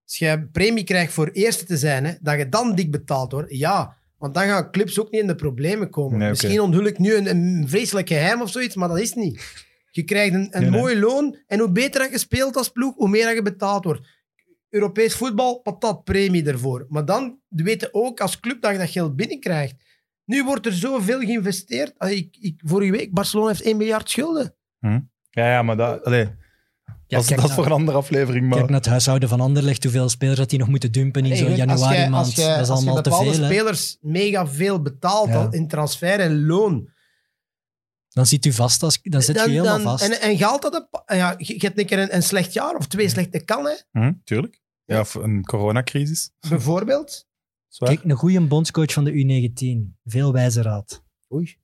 Speaker 4: als jij een premie krijgt voor eerste te zijn, hè, dat je dan dik betaald wordt. Ja, want dan gaan clubs ook niet in de problemen komen.
Speaker 1: Nee, oké.
Speaker 4: Misschien onthul ik nu een, een vreselijk geheim of zoiets, maar dat is het niet. Je krijgt een, een
Speaker 1: Nee, nee.
Speaker 4: mooi loon en hoe beter dat je speelt als ploeg, hoe meer dat je betaald wordt. Europees voetbal, patat, premie ervoor. Maar dan weten ook als club dat je dat geld binnenkrijgt. Nu wordt er zoveel geïnvesteerd. Ah, Ik, ik, vorige week, Barcelona heeft 1 miljard schulden.
Speaker 1: Ja, ja, maar dat, allee,
Speaker 2: Ja,
Speaker 1: als,
Speaker 2: kijk
Speaker 1: dat is
Speaker 2: nou.
Speaker 1: voor een andere aflevering.
Speaker 2: Kijk
Speaker 1: Maar,
Speaker 2: naar het huishouden van Anderlecht, hoeveel spelers dat die nog moeten dumpen in
Speaker 4: Hey,
Speaker 2: zo'n
Speaker 4: goed, als
Speaker 2: januari
Speaker 4: jij-
Speaker 2: maand.
Speaker 4: als jij-
Speaker 2: dat is
Speaker 4: als je
Speaker 2: allemaal te
Speaker 4: bepaalde
Speaker 2: veel. hè.
Speaker 4: spelers mega veel betaalt
Speaker 2: Ja.
Speaker 4: al in transfer en loon.
Speaker 2: Dan zit u vast, als, dan zit je
Speaker 4: Dan-
Speaker 2: helemaal
Speaker 4: dan-
Speaker 2: vast.
Speaker 4: En, en geldt dat? een pa- Ja, je, je hebt een keer een, een slecht jaar of twee slechte kan, hè?
Speaker 1: Hm, tuurlijk. Ja, of een coronacrisis.
Speaker 4: bijvoorbeeld.
Speaker 1: Zwaar.
Speaker 2: Kijk, een goede bondscoach van de U19. Veel wijze raad.
Speaker 4: Oei.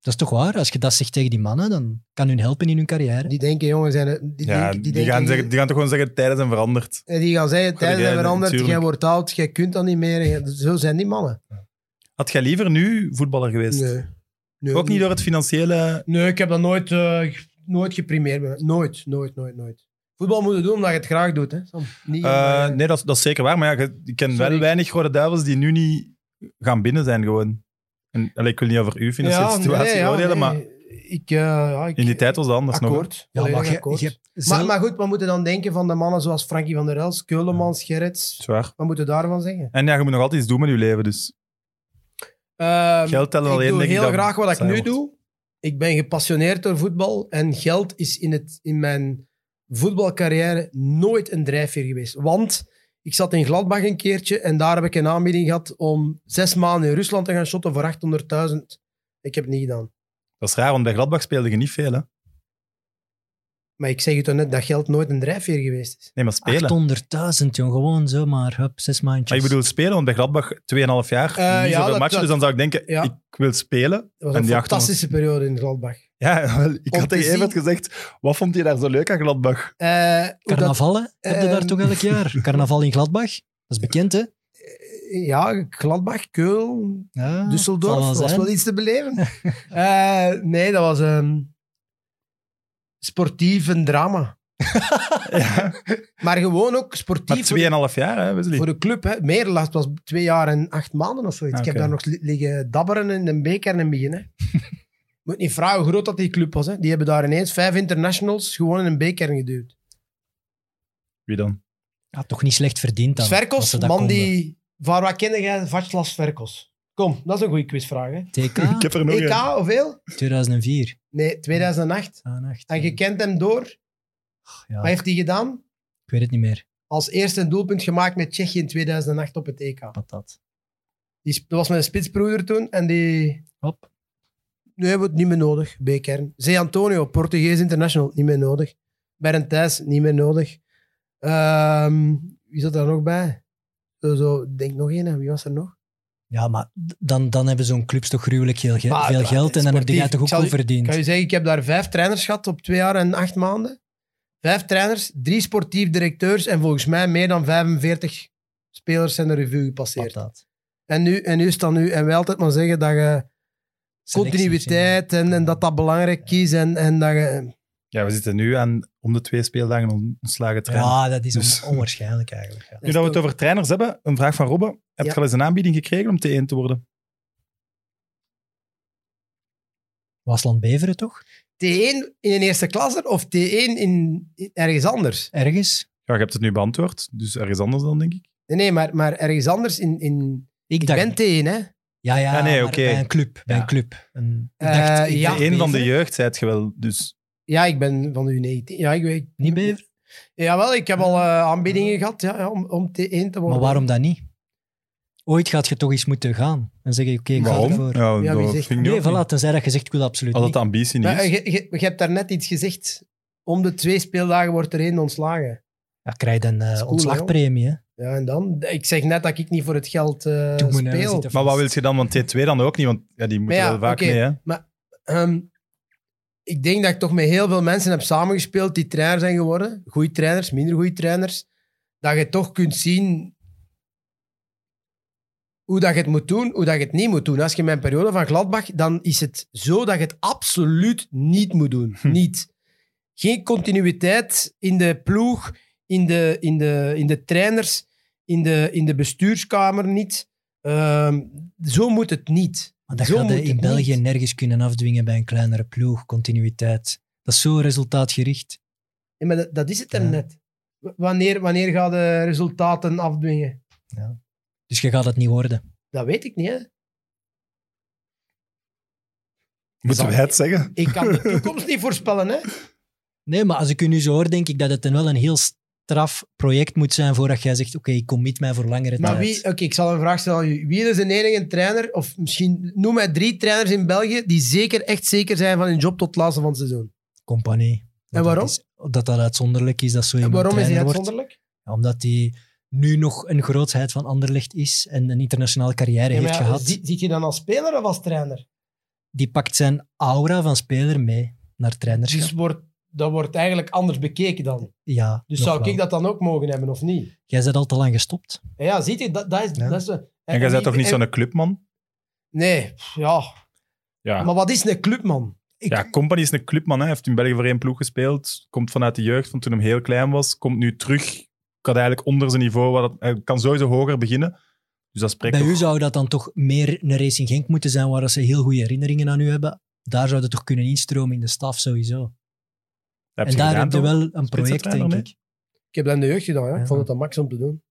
Speaker 2: Dat is toch waar? Als je dat zegt tegen die mannen, dan kan hun helpen in hun carrière.
Speaker 4: Die denken, jongens, zijn, die, die,
Speaker 1: ja,
Speaker 4: die
Speaker 1: die,
Speaker 4: denken-
Speaker 1: gaan zeggen, die gaan toch gewoon zeggen, tijden zijn veranderd.
Speaker 4: eh, die gaan zeggen,
Speaker 1: Goeie
Speaker 4: tijden zijn
Speaker 1: idee,
Speaker 4: veranderd,
Speaker 1: natuurlijk.
Speaker 4: jij wordt oud, jij kunt dat niet meer. Ja, Zo zijn die mannen.
Speaker 1: Had jij liever nu voetballer geweest?
Speaker 4: Nee. Nee,
Speaker 1: Ook niet door het financiële...
Speaker 4: Nee, ik heb dat nooit. eh, ik- nooit geprimeerd ben. Nooit, nooit, nooit, nooit. Voetbal moeten doen omdat je het graag doet, hè, Sam? Niet omdat
Speaker 1: Eh,
Speaker 4: je-
Speaker 1: nee, dat, is- dat is zeker waar. Maar ja, je- ik ken wel
Speaker 4: Sorry.
Speaker 1: weinig Rode Duivels die nu niet gaan binnen zijn gewoon. En, allee, ik wil niet over uw financiële situatie
Speaker 4: nee, ja,
Speaker 1: oordelen,
Speaker 4: nee.
Speaker 1: maar
Speaker 4: Ik, eh, ja, ik-
Speaker 1: in die tijd was dat anders nog. hè.
Speaker 4: akkoord.
Speaker 2: Ja, maar
Speaker 4: Volledig
Speaker 2: je,
Speaker 4: akkoord.
Speaker 2: je hebt
Speaker 4: maar,
Speaker 2: zelf-
Speaker 4: maar goed, wat moeten we dan denken van de mannen zoals Frankie van der Els, Keulemans, Gerrits?
Speaker 1: Zwaar.
Speaker 4: Wat moeten we daarvan zeggen?
Speaker 1: En ja, je moet nog altijd iets doen met je leven, dus
Speaker 4: Ehm,
Speaker 1: geld tellen
Speaker 4: ik
Speaker 1: alleen
Speaker 4: doe
Speaker 1: denk ik
Speaker 4: heel
Speaker 1: dat
Speaker 4: graag wat ik
Speaker 1: saai
Speaker 4: nu
Speaker 1: wordt.
Speaker 4: doe. Ik ben gepassioneerd door voetbal. En geld is in, het, in mijn voetbalcarrière nooit een drijfveer geweest. Want ik zat in Gladbach een keertje en daar heb ik een aanbieding gehad om zes maanden in Rusland te gaan shotten voor 800.000. Ik heb het niet gedaan.
Speaker 1: Dat is raar, want bij Gladbach speelde je niet veel, hè?
Speaker 4: Maar ik zeg je toch net dat geld nooit een drijfveer geweest is.
Speaker 1: Nee, maar spelen.
Speaker 2: 800.000, jong. Gewoon zomaar, hup, zes maandjes.
Speaker 1: Maar ik bedoel spelen, want bij Gladbach 2,5 jaar,
Speaker 4: Eh,
Speaker 1: niet
Speaker 4: ja,
Speaker 1: zoveel
Speaker 4: dat-
Speaker 1: matchen.
Speaker 4: dat-
Speaker 1: Dus dan zou ik denken,
Speaker 4: ja.
Speaker 1: ik wil spelen.
Speaker 4: Dat was
Speaker 1: En
Speaker 4: een
Speaker 1: die 800.
Speaker 4: fantastische periode in Gladbach.
Speaker 1: Ja, wel, ik
Speaker 4: Om
Speaker 1: had
Speaker 4: te
Speaker 1: tegen Evert
Speaker 4: zien-
Speaker 1: gezegd, wat vond je daar zo leuk aan Gladbach?
Speaker 4: Eh, hoe dat-
Speaker 2: Carnavallen heb je daar
Speaker 4: Ehm.
Speaker 2: toch elk jaar? Carnaval in Gladbach? Dat is bekend, hè?
Speaker 4: ja, Gladbach, Keul,
Speaker 2: Ja,
Speaker 4: Düsseldorf.
Speaker 2: zal
Speaker 4: Dat was
Speaker 2: zijn.
Speaker 4: wel iets te beleven. Eh, nee, dat was een sportief een drama.
Speaker 1: ja,
Speaker 4: Maar gewoon ook
Speaker 1: maar
Speaker 4: sportief
Speaker 1: 2,5 jaar, hè, Wesley?
Speaker 4: voor de club. Hè. Meer last was twee jaar en acht maanden of zoiets.
Speaker 1: Ah,
Speaker 4: Ik heb
Speaker 1: oké.
Speaker 4: daar nog li- liggen dabberen in een beker en een begin. Hè. Moet niet vragen hoe groot dat die club was. Hè. Die hebben daar ineens vijf internationals gewoon in een beker geduwd.
Speaker 1: Wie dan?
Speaker 2: Ja, toch niet slecht verdiend dan. als
Speaker 4: Sverkos,
Speaker 2: ze dat
Speaker 4: man
Speaker 2: konden.
Speaker 4: die... Van wat kende jij Vaclav Sverkos? Kom, dat is een goede quizvraag. Hè.
Speaker 1: Ik
Speaker 2: TK,
Speaker 1: heb er nog een.
Speaker 4: EK, hoeveel?
Speaker 2: 2004.
Speaker 4: Nee, 2008.
Speaker 2: Ah, echt.
Speaker 4: En je kent hem door.
Speaker 2: Ja,
Speaker 4: Wat heeft hij gedaan?
Speaker 2: ik weet het niet meer.
Speaker 4: als eerste een doelpunt gemaakt met Tsjechië in 2008 op het EK.
Speaker 2: Patat.
Speaker 4: Die sp- dat was mijn spitsbroeder toen en die...
Speaker 2: Hop.
Speaker 4: Nu hebben we het niet meer nodig, B-kern. Zee Antonio, Portugees international, niet meer nodig. Bernd Thijs, niet meer nodig. Ehm, wie zat daar nog bij? Zo, zo, ik denk nog één, hè. wie was er nog?
Speaker 2: Ja, maar d- dan, dan hebben zo'n clubs toch gruwelijk heel ge-
Speaker 4: Maar,
Speaker 2: veel
Speaker 4: maar,
Speaker 2: geld en dan heb jij
Speaker 4: sportief.
Speaker 2: toch
Speaker 4: Ik
Speaker 2: ook
Speaker 4: zal
Speaker 2: al
Speaker 4: je- Ik
Speaker 2: verdiend.
Speaker 4: kan je zeggen, ik heb daar vijf trainers gehad op twee jaar en acht maanden. Vijf trainers, drie sportief directeurs en volgens mij meer dan 45 spelers zijn de revue gepasseerd.
Speaker 2: Patat.
Speaker 4: En nu, en nu is dat nu. En wij altijd maar zeggen dat je
Speaker 2: Selectie
Speaker 4: continuïteit en, en dat dat belangrijk is. En, en dat je...
Speaker 1: Ja, we zitten nu aan om de twee speeldagen on- ontslagen
Speaker 2: zien.
Speaker 1: trainer.
Speaker 2: Ja, dat is on-
Speaker 1: Dus-
Speaker 2: onwaarschijnlijk eigenlijk. Ja.
Speaker 1: Nu dat we het over trainers hebben, een vraag van Robbe. Heb
Speaker 4: Ja.
Speaker 1: je al eens een aanbieding gekregen om T1 te worden?
Speaker 2: Wasland Beveren toch?
Speaker 4: T1 in een eerste klasse of T1 in, in ergens anders?
Speaker 2: Ergens?
Speaker 1: Ja, je hebt het nu beantwoord, dus ergens anders dan, denk ik.
Speaker 4: Nee, nee maar, maar ergens anders in... in...
Speaker 2: Ik
Speaker 4: Ik
Speaker 2: dacht...
Speaker 4: ben T1, hè.
Speaker 2: Ja, ja,
Speaker 1: Ja, nee,
Speaker 2: maar
Speaker 1: oké.
Speaker 2: bij een club. Bij
Speaker 1: Ja.
Speaker 2: een club. Een, ik
Speaker 4: Eh,
Speaker 2: dacht, ik
Speaker 4: ja.
Speaker 2: dacht
Speaker 1: Eén van de
Speaker 2: Beveren.
Speaker 1: jeugd, zei het je wel. Dus
Speaker 4: Ja, ik ben van de U19. Ja, ik weet...
Speaker 2: Niet Beveren?
Speaker 4: Jawel, ik heb al eh, aanbiedingen gehad ja, ja, om, om T1 te worden.
Speaker 2: Maar waarom dan niet? Ooit gaat je toch eens moeten gaan en zeggen, oké, ik ga
Speaker 1: waarom?
Speaker 2: ervoor.
Speaker 1: Ja,
Speaker 4: Ja, wie
Speaker 1: dat
Speaker 4: zegt-
Speaker 1: vind ik nu
Speaker 2: Nee,
Speaker 1: ook niet.
Speaker 2: voilà, tenzij dat je zegt, ik wil absoluut
Speaker 1: Als dat
Speaker 2: niet.
Speaker 1: de ambitie niet
Speaker 4: Maar,
Speaker 1: is.
Speaker 4: eh, je, je, je hebt daarnet iets gezegd. Om de twee speeldagen wordt er één ontslagen.
Speaker 2: Ja, krijg je een eh,
Speaker 4: cool,
Speaker 2: ontslagpremie, hè.
Speaker 4: Ja, en dan? Ik zeg net dat ik niet voor het geld eh,
Speaker 2: Doe me nou,
Speaker 4: speel.
Speaker 2: zit er
Speaker 1: Maar wat wil
Speaker 2: vast.
Speaker 1: je dan? Want T2 dan ook niet, want ja, die moeten
Speaker 4: Maar ja,
Speaker 1: wel vaak
Speaker 4: oké.
Speaker 1: mee. Hè?
Speaker 4: Ehm, ik denk dat ik toch met heel veel mensen heb samengespeeld die trainer zijn geworden. Goeie trainers, minder goede trainers. Dat je toch kunt zien hoe dat je het moet doen, hoe dat je het niet moet doen. Als je mijn periode van Gladbach, dan is het zo dat je het absoluut niet moet doen.
Speaker 1: Hm.
Speaker 4: Niet. Geen continuïteit in de ploeg, in de, in de, in de trainers, in de, in de bestuurskamer niet. Ehm, zo moet het niet.
Speaker 2: Maar dat
Speaker 4: Zo
Speaker 2: gaat
Speaker 4: moet
Speaker 2: je in
Speaker 4: het
Speaker 2: België
Speaker 4: niet.
Speaker 2: nergens kunnen afdwingen bij een kleinere ploeg, continuïteit. Dat is zo resultaatgericht.
Speaker 4: Ja, maar dat, dat is het er
Speaker 2: Ja.
Speaker 4: net. W- Wanneer, wanneer ga de resultaten afdwingen?
Speaker 2: Dus je gaat het niet worden.
Speaker 4: Dat weet ik niet. Hè?
Speaker 1: Moeten wij het zeggen?
Speaker 4: Ik kan de toekomst niet voorspellen. Hè?
Speaker 2: Nee, maar als ik u nu zo hoor, denk ik dat het dan wel een heel straf project moet zijn voordat jij zegt, oké, ik commit mij voor langere
Speaker 4: Maar
Speaker 2: tijd.
Speaker 4: wie, oké, ik zal een vraag stellen aan u. Wie is een enige trainer, of misschien noem mij drie trainers in België, die zeker, echt zeker zijn van hun job tot het laatste van het seizoen?
Speaker 2: Compagnie.
Speaker 4: En waarom?
Speaker 2: Dat is- dat dat uitzonderlijk is, dat zo iemand
Speaker 4: waarom is die
Speaker 2: trainer wordt.
Speaker 4: uitzonderlijk?
Speaker 2: Ja, Omdat die nu nog een grootheid van Anderlecht is en een internationale carrière
Speaker 4: Ja, maar
Speaker 2: heeft
Speaker 4: ja,
Speaker 2: gehad.
Speaker 4: zie- Ziet je dan als speler of als trainer?
Speaker 2: Die pakt zijn aura van speler mee naar trainerschap.
Speaker 4: Dus wordt, dat wordt eigenlijk anders bekeken dan.
Speaker 2: ja,
Speaker 4: Dus
Speaker 2: nog
Speaker 4: zou
Speaker 2: wel.
Speaker 4: ik dat dan ook mogen hebben of niet?
Speaker 2: Jij bent al te lang gestopt.
Speaker 4: Ja, Ja, ziet je, dat, dat is...
Speaker 2: Ja.
Speaker 4: Dat is en,
Speaker 1: En jij bent toch niet
Speaker 4: en-
Speaker 1: zo'n clubman?
Speaker 4: Nee, ja.
Speaker 1: Ja.
Speaker 4: Maar wat is een clubman?
Speaker 2: Ik,
Speaker 1: Ja, Company is een clubman. Hij heeft in België voor één ploeg gespeeld. Komt vanuit de jeugd van toen hij heel klein was. Komt nu terug. Kan eigenlijk onder zijn niveau. Wat het- hij kan sowieso hoger beginnen. Dus dat spreekt
Speaker 2: bij
Speaker 1: toch-
Speaker 2: u zou dat dan toch meer een Racing Genk moeten zijn waar dat ze heel goede herinneringen aan u hebben. Daar zou dat toch kunnen instromen in de staf sowieso.
Speaker 1: dat
Speaker 2: en
Speaker 1: je
Speaker 2: daar
Speaker 1: gedaan,
Speaker 2: heb je
Speaker 1: toch?
Speaker 2: wel een project,
Speaker 1: Spitsentrainer,
Speaker 2: denk ik.
Speaker 4: Ik heb dat in de jeugd gedaan. Ja.
Speaker 2: Ja.
Speaker 4: Ik vond het dat max om te doen.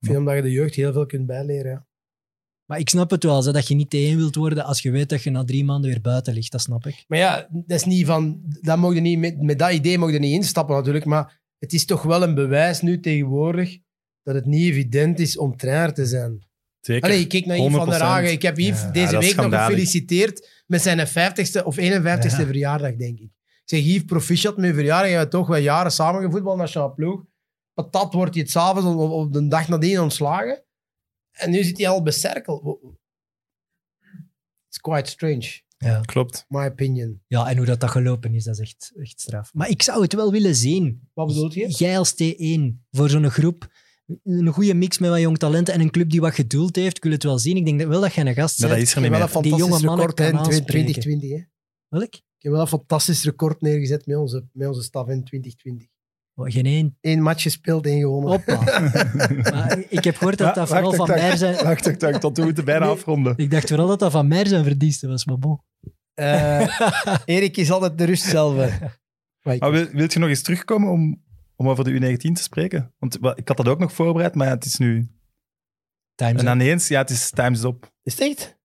Speaker 4: Ik vind omdat je de jeugd heel veel kunt bijleren. Ja.
Speaker 2: Maar ik snap het wel, zo, dat je niet één wilt worden als je weet dat je na drie maanden weer buiten ligt. Dat snap ik.
Speaker 4: Maar ja, dat is niet van, dat mocht je niet, met, met dat idee mocht je niet instappen natuurlijk. Maar het is toch wel een bewijs nu tegenwoordig dat het niet evident is om trainer te zijn.
Speaker 1: Zeker.
Speaker 4: Allee, ik keek naar Yves van der
Speaker 1: 100%.
Speaker 4: Hagen. Ik heb Yves
Speaker 2: Ja.
Speaker 1: Ja,
Speaker 4: deze
Speaker 1: dat is
Speaker 4: week nog
Speaker 1: schandalig.
Speaker 4: gefeliciteerd met zijn 50ste of 51ste
Speaker 2: Ja.
Speaker 4: verjaardag, denk ik. Ik zeg, Yves, proficiat met je verjaardag. Je hebt toch wel jaren samen gevoetbald, nationaal ploeg. Patat wordt hij het s'avonds of, of de dag nadien ontslagen. En nu zit hij al becerkeld. It's quite strange,
Speaker 2: Ja.
Speaker 1: Klopt.
Speaker 4: my opinion.
Speaker 2: ja, en hoe dat, dat gelopen is, dat is echt, echt straf. Maar ik zou het wel willen zien.
Speaker 4: Wat bedoelt je?
Speaker 2: Jij als T1 voor zo'n groep. Een goede mix met wat jong talenten en een club die wat geduld heeft. Ik wil het wel zien. Ik denk dat wel dat jij een gast
Speaker 1: Maar
Speaker 2: bent.
Speaker 1: dat is er niet
Speaker 4: Ik
Speaker 1: meer.
Speaker 4: heb wel een fantastisch
Speaker 2: jonge mannen
Speaker 4: record hè, in
Speaker 2: kan aanspreken.
Speaker 4: 2020. Hè. Ik
Speaker 2: Welk?
Speaker 4: heb wel een fantastisch record neergezet met onze, met onze staf in 2020.
Speaker 2: Oh, geen één.
Speaker 4: Eén match gespeeld, één gewonnen.
Speaker 2: Hoppa. Maar ik heb gehoord dat
Speaker 1: Ja,
Speaker 2: dat vooral
Speaker 1: wacht,
Speaker 2: van
Speaker 1: wacht,
Speaker 2: mij zijn...
Speaker 1: Wacht, wacht, wacht. Tot we moeten bijna
Speaker 4: Nee.
Speaker 1: afronden.
Speaker 2: Ik dacht vooral dat dat van mij zijn verdienste was, maar bon.
Speaker 4: Eh, Erik is altijd de rust zelf. hè. Maar ik-
Speaker 1: Maar wil, wilt je nog eens terugkomen om, om over de U19 te spreken? Want wa- ik had dat ook nog voorbereid, maar ja, het is nu...
Speaker 2: Time's
Speaker 1: En
Speaker 2: up.
Speaker 1: dan eens, ja, het is time's up.
Speaker 4: Is het echt?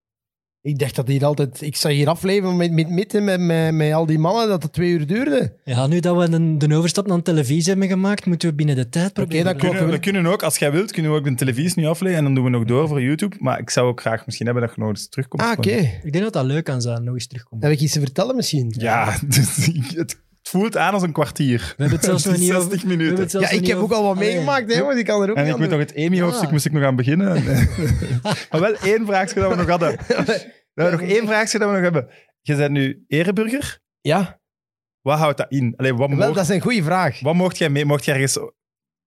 Speaker 4: Ik dacht dat hier altijd... Ik zag hier afleveren met, met, met, met, met, met al die mannen dat het twee uur duurde.
Speaker 2: Ja, nu dat we een, de overstap naar televisie hebben gemaakt, moeten we binnen de tijd proberen.
Speaker 4: dat
Speaker 1: We
Speaker 4: klopt.
Speaker 1: kunnen, we kunnen ook, als jij wilt, kunnen we ook de televisie nu afleggen en dan doen we nog door voor YouTube. Maar ik zou ook graag misschien hebben dat je nog eens terugkomt.
Speaker 4: Ah, oké.
Speaker 2: Ik denk dat dat leuk kan zijn, nog eens terugkomen.
Speaker 4: Heb ik iets te vertellen misschien?
Speaker 1: Ja, dus ik- het, het voelt aan als een kwartier.
Speaker 2: We hebben het zelfs
Speaker 1: Het
Speaker 2: nog
Speaker 1: is
Speaker 2: niet over...
Speaker 1: 60
Speaker 2: we hebben
Speaker 1: minuten.
Speaker 2: het zelfs
Speaker 4: Ja,
Speaker 2: nog
Speaker 4: ik
Speaker 2: niet
Speaker 4: heb ook
Speaker 2: over-
Speaker 4: al wat
Speaker 2: Allee.
Speaker 4: meegemaakt, hè, want ik kan er ook
Speaker 1: En
Speaker 4: niet
Speaker 1: ik moet nog
Speaker 4: aan
Speaker 1: het Amy-hoofdstuk
Speaker 2: Ja.
Speaker 1: moest ik nog aan beginnen. maar wel één vraagje dat we nog hadden. We hebben nog één vraagje dat we nog hebben. Je bent nu ereburger.
Speaker 4: doen. Ja,
Speaker 1: Wat houdt dat in? Allee, wat
Speaker 4: wel,
Speaker 1: mocht,
Speaker 4: dat is een goede vraag.
Speaker 1: wat mocht jij mee? Mocht jij ergens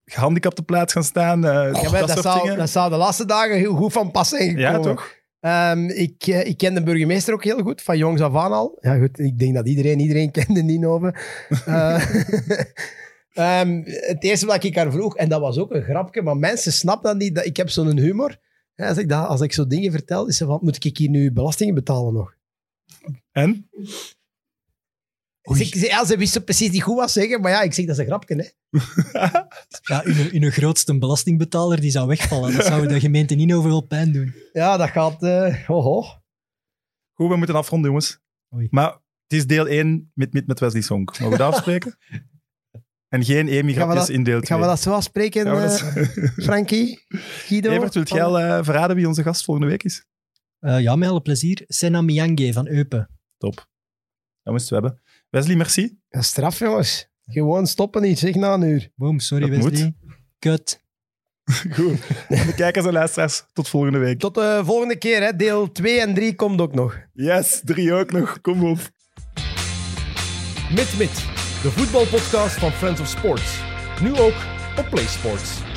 Speaker 1: gehandicapte plaats gaan staan? Eh,
Speaker 4: Ja,
Speaker 1: dat,
Speaker 4: maar dat,
Speaker 1: soort
Speaker 4: zou,
Speaker 1: dingen?
Speaker 4: dat zou de laatste dagen heel goed van pas zijn
Speaker 1: ja,
Speaker 4: gekomen.
Speaker 1: toch?
Speaker 4: Ehm, ik, eh, ik ken de burgemeester ook heel goed, van jongs af aan al. Ja, goed, ik denk dat iedereen, iedereen kende Ninove. Eh ehm, het eerste wat ik haar vroeg, en dat was ook een grapje, maar mensen snappen dat niet, dat ik heb zo'n humor. Ja, als, ik dat, als ik zo dingen vertel, is ze van, moet ik hier nu belastingen betalen nog?
Speaker 1: En?
Speaker 2: Oei.
Speaker 4: Ze, ze- ja, ze wist zo precies niet goed wat zeggen, maar ja, ik zeg, dat is een grapje, hè.
Speaker 2: Ja, uw, uw grootste belastingbetaler die zou wegvallen. Dat zou de gemeente niet overal pijn doen.
Speaker 4: Ja, dat gaat... eh ho, ho.
Speaker 1: Goed, we moeten afronden, jongens.
Speaker 2: Oei.
Speaker 1: Maar het is deel 1 met, met, met Wesley Song. Mogen we dat afspreken? en geen
Speaker 4: Gaan we
Speaker 1: Amy-grapjes
Speaker 4: dat-
Speaker 1: in deel 2.
Speaker 4: Gaan we dat zo afspreken,
Speaker 1: Gaan we dat-
Speaker 4: eh, Frankie? Guido?
Speaker 1: Evert, wilt jij al eh, verraden wie onze gast volgende week is?
Speaker 2: Eh, ja, met alle plezier. Sena Miyange van Eupen.
Speaker 1: Dat moesten we hebben. Wesley, merci.
Speaker 4: Dat is straf, jongens. Gewoon stoppen niet, zeg na een uur.
Speaker 2: Boom, sorry
Speaker 1: Dat
Speaker 2: Wesley. Kut.
Speaker 1: Goed. De kijkers en luisteraars, tot volgende week.
Speaker 4: Tot de volgende keer. Hè. Deel 2 en 3 komt ook nog.
Speaker 1: Yes, drie ook nog. Kom op.
Speaker 3: Mit Mit, de voetbalpodcast van Friends of Sports. Nu ook op PlaySports.